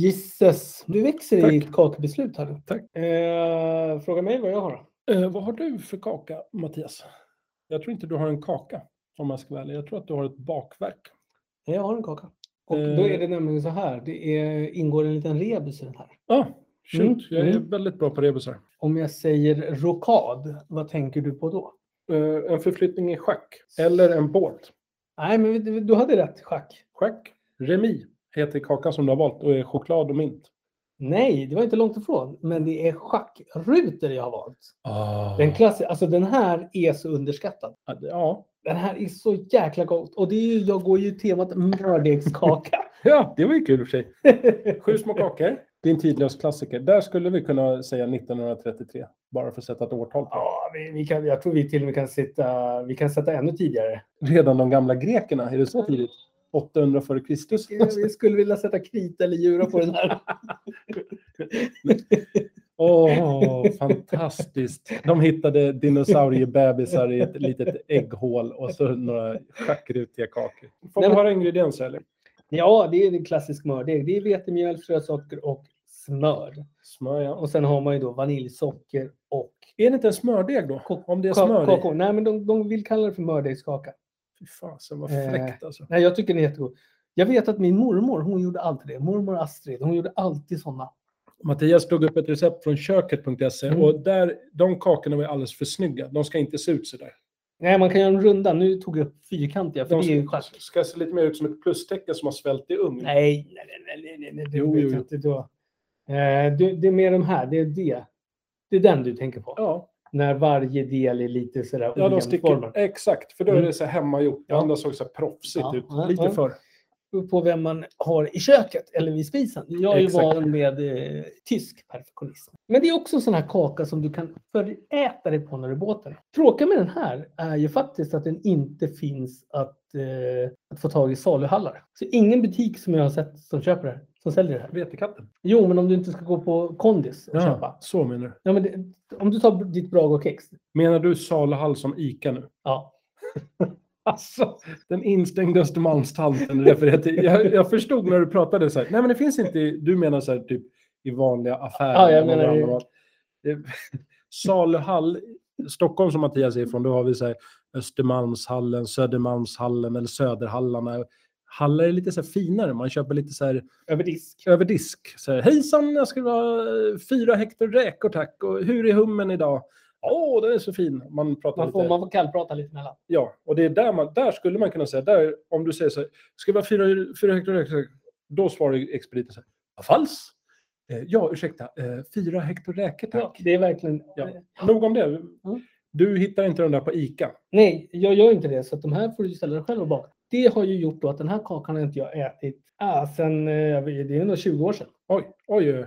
Gisses, du växer Tack. i ett kakbeslut. Här. nu. Tack. Eh, fråga mig vad jag har. Eh, vad har du för kaka, Mattias? Jag tror inte du har en kaka, om jag ska vara ärlig. Jag tror att du har ett bakverk. Nej, Jag har en kaka. Och Eh. då är det nämligen så här, det är, ingår en liten rebus i den här. Ja, ah, shoot. Mm, Jag är mm. väldigt bra på rebusar. Om jag säger rokad, vad tänker du på då? Eh, en förflyttning i schack eller en båt. Nej, men vi- du hade rätt. Schack. Schack, remi heter kakan som du har valt och är choklad och mint. Nej, det var inte långt ifrån. Men det är schackrutor jag har valt. Ah. Den, klass, alltså, den här är så underskattad. ja. Den här är så jäkla gott. Och det är, ju- jag går ju temat mördegskaka. ja, det var ju kul i och för sig. Sju små kakor. Det är en tidlös klassiker. Där skulle vi kunna säga 1933. Bara för att sätta ett årtal på. ja, vi, vi kan, jag tror vi till och med kan, sitta, vi kan sätta ännu tidigare. Redan de gamla grekerna, är det så tidigt? 800 före Kristus? Vi skulle vilja sätta krita eller djura på den här. Åh, fantastiskt. De hittade dinosauriebebisar i ett litet ägghål och så några schackrutiga kakor. Får Nej, man men- höra ingredienser eller? Ja, det är en klassisk mördeg. Det är vetemjöl, frösocker och smör. Smör, ja. Och sen har man ju då vaniljsocker och Är det inte en smördeg då? Om det är ka- smör i? kakao. Nej, men de, de vill kalla det för mördegskaka. Fy fasen vad Eh. fräckt alltså. Nej, jag tycker den är jättegod. Jag vet att min mormor, hon gjorde alltid det. Mormor Astrid, hon gjorde alltid sådana. Mattias tog upp ett recept från köket.se Mm. och där, de kakorna var alldeles för snygga. De ska inte se ut sådär. Nej, man kan göra en runda. Nu tog jag upp fyrkantiga, för De det är ju ska, schack. ska se lite mer ut som ett plustecken som har svällt i ugn. Nej, nej, nej, nej, nej, nej. det Jo, vet jo, jag jo. inte då. Eh, det, det är mer de här, det är det. Det är den du tänker på. Ja, När varje del är lite sådär ja de ojämnt sticker, formad. exakt, för då är Mm. det så här hemmagjort. Det Ja. andra såg så här proffsigt Ja, ut. ja, Lite ja. för. beror på vem man har i köket eller vid spisen. Jag är ju Exakt. van med eh, tysk perfektionism. Men det är också en sån här kaka som du kan föräta dig på när du är i båten. Tråkiga med den här är ju faktiskt att den inte finns att, eh, att få tag i i saluhallar. Så ingen butik som jag har sett som köper det här, som säljer det här. Vetekatten. Jo, men om du inte ska gå på kondis och Ja, köpa. så menar du. Ja, men det, om du tar ditt Brago-kex. Menar du saluhall som ICA nu? Ja. Alltså, den instängda Östermalmstanten refererar till. Jag, jag förstod när du pratade så här. Nej, men det finns inte. i- Du menar så här typ i vanliga affärer. Ja, jag eller menar någon i- annan. Eh, Saluhall, Stockholm som Mattias är ifrån, då har vi så här Östermalmshallen, Södermalmshallen eller Söderhallarna. Hallar är lite så här finare. Man köper lite så här Över disk. över disk. Så här, Hejsan, jag skulle ha eh, fyra hektar räkor tack. Och hur är hummen idag? Åh, den är så fin. Man pratar Man lite... får, man får kallprata lite mellan. Ja, och det är där, man, där skulle man kunna säga, där, om du säger så här, ska vi ha fyra, fyra hektar räkor? Då svarar ju expediten så här, "Vad falskt. Eh, ja, ursäkta, eh, fyra hektar räkor Ja, tack. det är verkligen... eh, Ja. Mm. Nog om det. Du hittar inte den där på ICA. Nej, jag gör inte det. Så att de här får du ställa dig själv och baka. Det har ju gjort då att den här kakan har inte jag ätit ah, sen, eh, jag vet- det är nog 20 år sedan. Oj, oj, oj.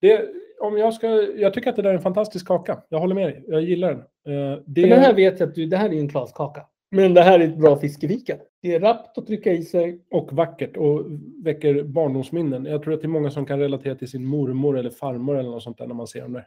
Det, om jag, ska, jag tycker att det där är en fantastisk kaka. Jag håller med dig. Jag gillar den. Eh, det, Men den här vet jag att du, det här är ju en klaskaka. Men det här är ett bra fiskefika. Det är rappt att trycka i sig. och vackert och väcker barndomsminnen. Jag tror att det är många som kan relatera till sin mormor eller farmor eller något sånt där när man ser dem där.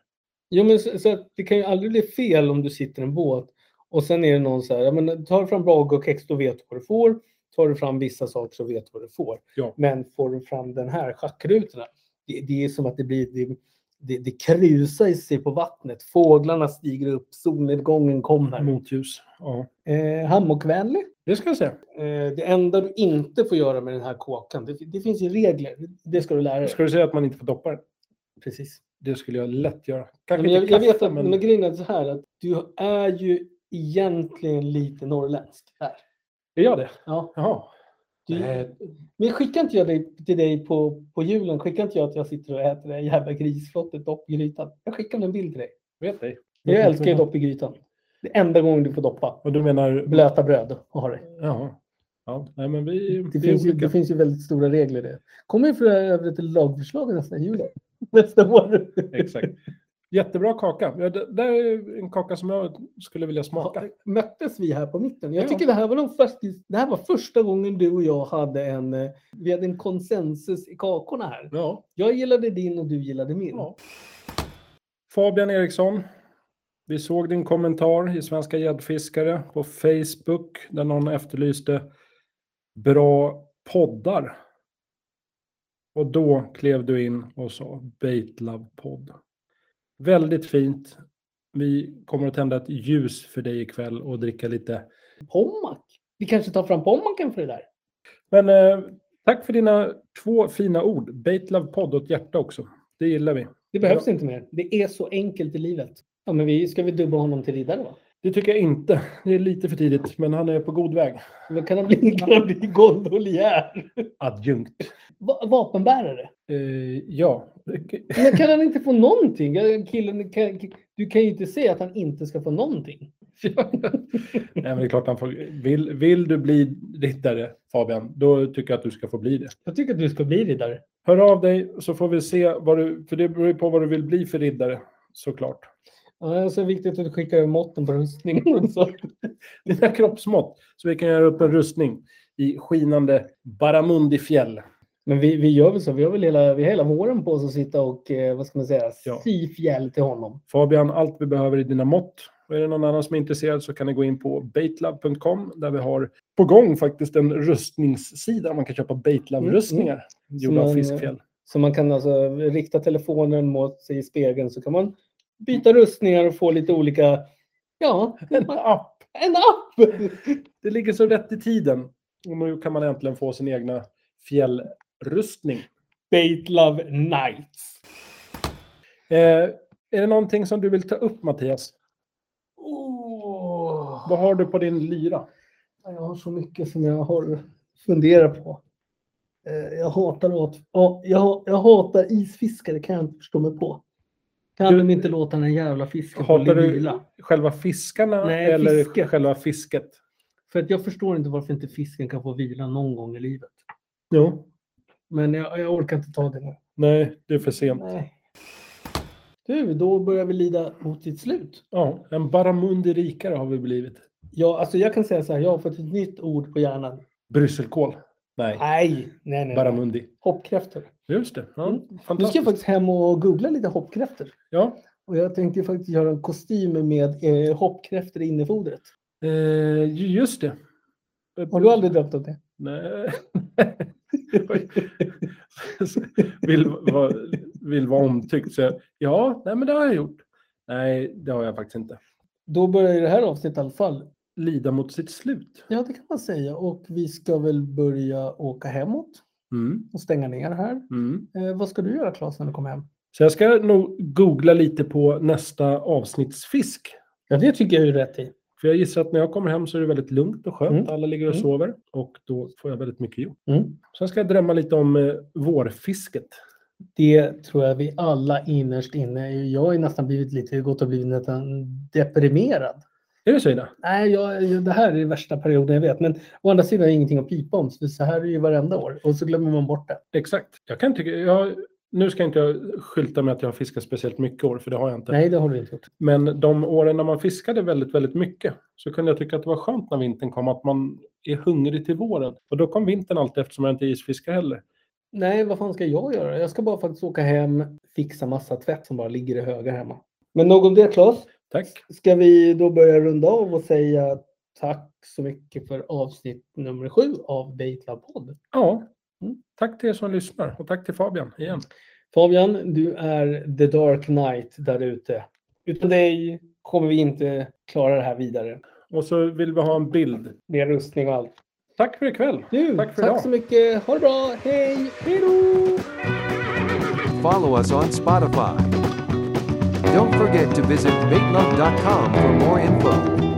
Jo, men så, så att det kan ju aldrig bli fel om du sitter i en båt och sen är det någon så här, ja, men tar du fram Brago och kex då vet du vad du får. Tar du fram vissa saker så vet du vad du får. Ja. Men får du fram den här schackrutorna, det, det är som att det blir, det, det, det krusar i sig på vattnet. Fåglarna stiger upp, solnedgången kommer. Motljus. Ja. Eh, hammockvänlig. Det ska jag säga. Eh, det enda du inte får göra med den här kåkan, det, det finns ju regler. Det ska du lära dig. Ska du säga att man inte får doppa den? Precis. Det skulle jag lätt göra. Ja, Kanske men jag, inte jag kaffe, vet att, men... men grejen är så här att du är ju egentligen lite norrländsk. Här. är jag det? Ja, Jaha. du, Nej, men skickar inte jag dig, till dig på, på julen, skickar inte jag att jag sitter och äter det här jävla grisflottet dopp i grytan? Jag skickar en bild till dig. vet dig. Jag älskar ju dopp i grytan. Det är enda gången du får doppa. Och du menar... Blöta bröd och ha det. Jaha. Ja, nej men vi... Det vi är finns, ju, olika. det finns ju väldigt stora regler i det. Kommer ju för övrigt ett lagförslag nästa jul. Nästa år. Exakt. Jättebra kaka. Ja, det, det är en kaka som jag skulle vilja smaka. Möttes vi här på mitten? Jag Ja. tycker det här, var de faktiskt, det här var första gången du och jag hade en, eh, vi hade en konsensus i kakorna här. Ja. Jag gillade din och du gillade min. ja. Fabian Eriksson. Vi såg din kommentar i Svenska gäddfiskare på Facebook där någon efterlyste bra poddar. Och då klev du in och sa Baitlove-podd. Väldigt fint. Vi kommer att tända ett ljus för dig ikväll och dricka lite. Pommack. Vi kanske tar fram pommacken för det där. Men eh, tack för dina två fina ord. Baitlove-podd och ett hjärta också. Det gillar vi. Det behövs inte mer. Det är så enkelt i livet. Ja, men vi, ska vi dubba honom till riddare va? Det tycker jag inte. Det är lite för tidigt, men han är på god väg. Men kan han bli, kan han bli gondoljär? Adjunkt. Va- vapenbärare? Eh, ja. Men kan han inte få någonting? Ja, Killen, kan, du kan ju inte säga att han inte ska få någonting. Nej, men det är klart han får. Vill, vill du bli riddare, Fabian, då tycker jag att du ska få bli det. Jag tycker att du ska bli riddare. Hör av dig så får vi se vad du... För det beror ju på vad du vill bli för riddare, såklart. Ja, det är så viktigt att skicka över måtten på rustningen också. Dina kroppsmått, så vi kan göra upp en rustning i skinande Baramundifjäll. Men vi, vi gör väl så. Vi har väl hela, vi har hela våren på oss att sitta och, eh, vad ska man säga, Ja. sy fjäll till honom. Fabian, allt vi behöver i dina mått. Och är det någon annan som är intresserad så kan ni gå in på baitlove.com där vi har på gång faktiskt en rustningssida. Man kan köpa baitlove-rustningar gjorda av Som en, eh, fiskfjäll. Så man kan alltså rikta telefonen mot sig i spegeln så kan man byta rustningar och få lite olika, ja, En app. en app! Det ligger så rätt i tiden. Och nu kan man äntligen få sin egna fjällrustning. Bait Love Nights. Eh, är det någonting som du vill ta upp Mattias? Åh, Vad har du på din lyra? Jag har så mycket som jag har funderat på. Eh, Jag hatar, åt, ja, jag, jag hatar isfiskare, kan jag inte förstå mig på. Kan Du- de inte låta den här jävla fisken få Hatar du vila? själva fiskarna Nej, eller fisket. själva fisket? För att jag förstår inte varför inte fisken kan få vila någon gång i livet. Jo. Men jag, jag orkar inte ta det nu. Nej, det är för sent. Nej. Du, då börjar vi lida mot sitt slut. Ja, en Baramundi rikare har vi blivit. Ja, alltså jag kan säga så här, jag har fått ett nytt ord på hjärnan. Brysselkål. Nej, Nej, nej, nej. nej. Baramundi. Hoppkräftor. Just det. Ja, Mm. Nu ska Fantastiskt. jag faktiskt hem och googla lite hoppkräftor. Ja. Och jag tänkte ju faktiskt göra en kostym med eh, hoppkräftor i innefodret. Eh, ju- just det. Har du aldrig döpt åt det? Nej. Oj. vill, vara, vill vara omtyckt. Så jag, ja, nej, men det har jag gjort. Nej, det har jag faktiskt inte. Då börjar ju det här avsnittet i alla fall. Lida mot sitt slut. Ja, det kan man säga. Och vi ska väl börja åka hemåt Mm, och stänga ner här. mm. Eh, vad ska du göra Claes när du kommer hem? Så jag ska nog googla lite på nästa avsnittsfisk. Ja, det tycker jag är rätt i. För jag gissar att när jag kommer hem så är det väldigt lugnt och skönt. Mm. Alla ligger och Mm. sover och då får jag väldigt mycket gjort. Mm. Sen ska jag drömma lite om eh, vårfisket. Det tror jag vi alla innerst inne. Jag har ju nästan blivit lite, gått och blivit nästan deprimerad. Är det så Ida? Nej, jag, jag- det här är den värsta perioden jag vet. Men å andra sidan är det ingenting att pipa om. Så så här är ju varenda år. Och så glömmer man bort det. Exakt. Jag kan tycka, jag, nu ska inte jag skylta med att jag har fiskat speciellt mycket år, för det har jag inte. Nej, det har du inte gjort. Men de åren när man fiskade väldigt, väldigt mycket så kunde jag tycka att det var skönt när vintern kom, att man är hungrig till våren. Och då kom vintern alltid eftersom jag inte isfiskar heller. Nej, vad fan ska jag göra? Jag ska bara faktiskt åka hem, fixa massa tvätt som bara ligger i högar hemma. Men nog om det Claes. Tack. Ska vi då börja runda av och säga tack så mycket för avsnitt nummer sju av Baitlab-podd. Ja. Mm. Tack till er som lyssnar och tack till Fabian igen. Fabian, du är the dark knight där ute. Utan dig kommer vi inte klara det här vidare. Och så vill vi ha en bild. Med rustning och allt. Tack för ikväll. Du, Tack tack, för idag. så mycket. Ha det bra. Hej! Hej då! Follow us on Spotify. Don't forget to visit baitlove.com for more info.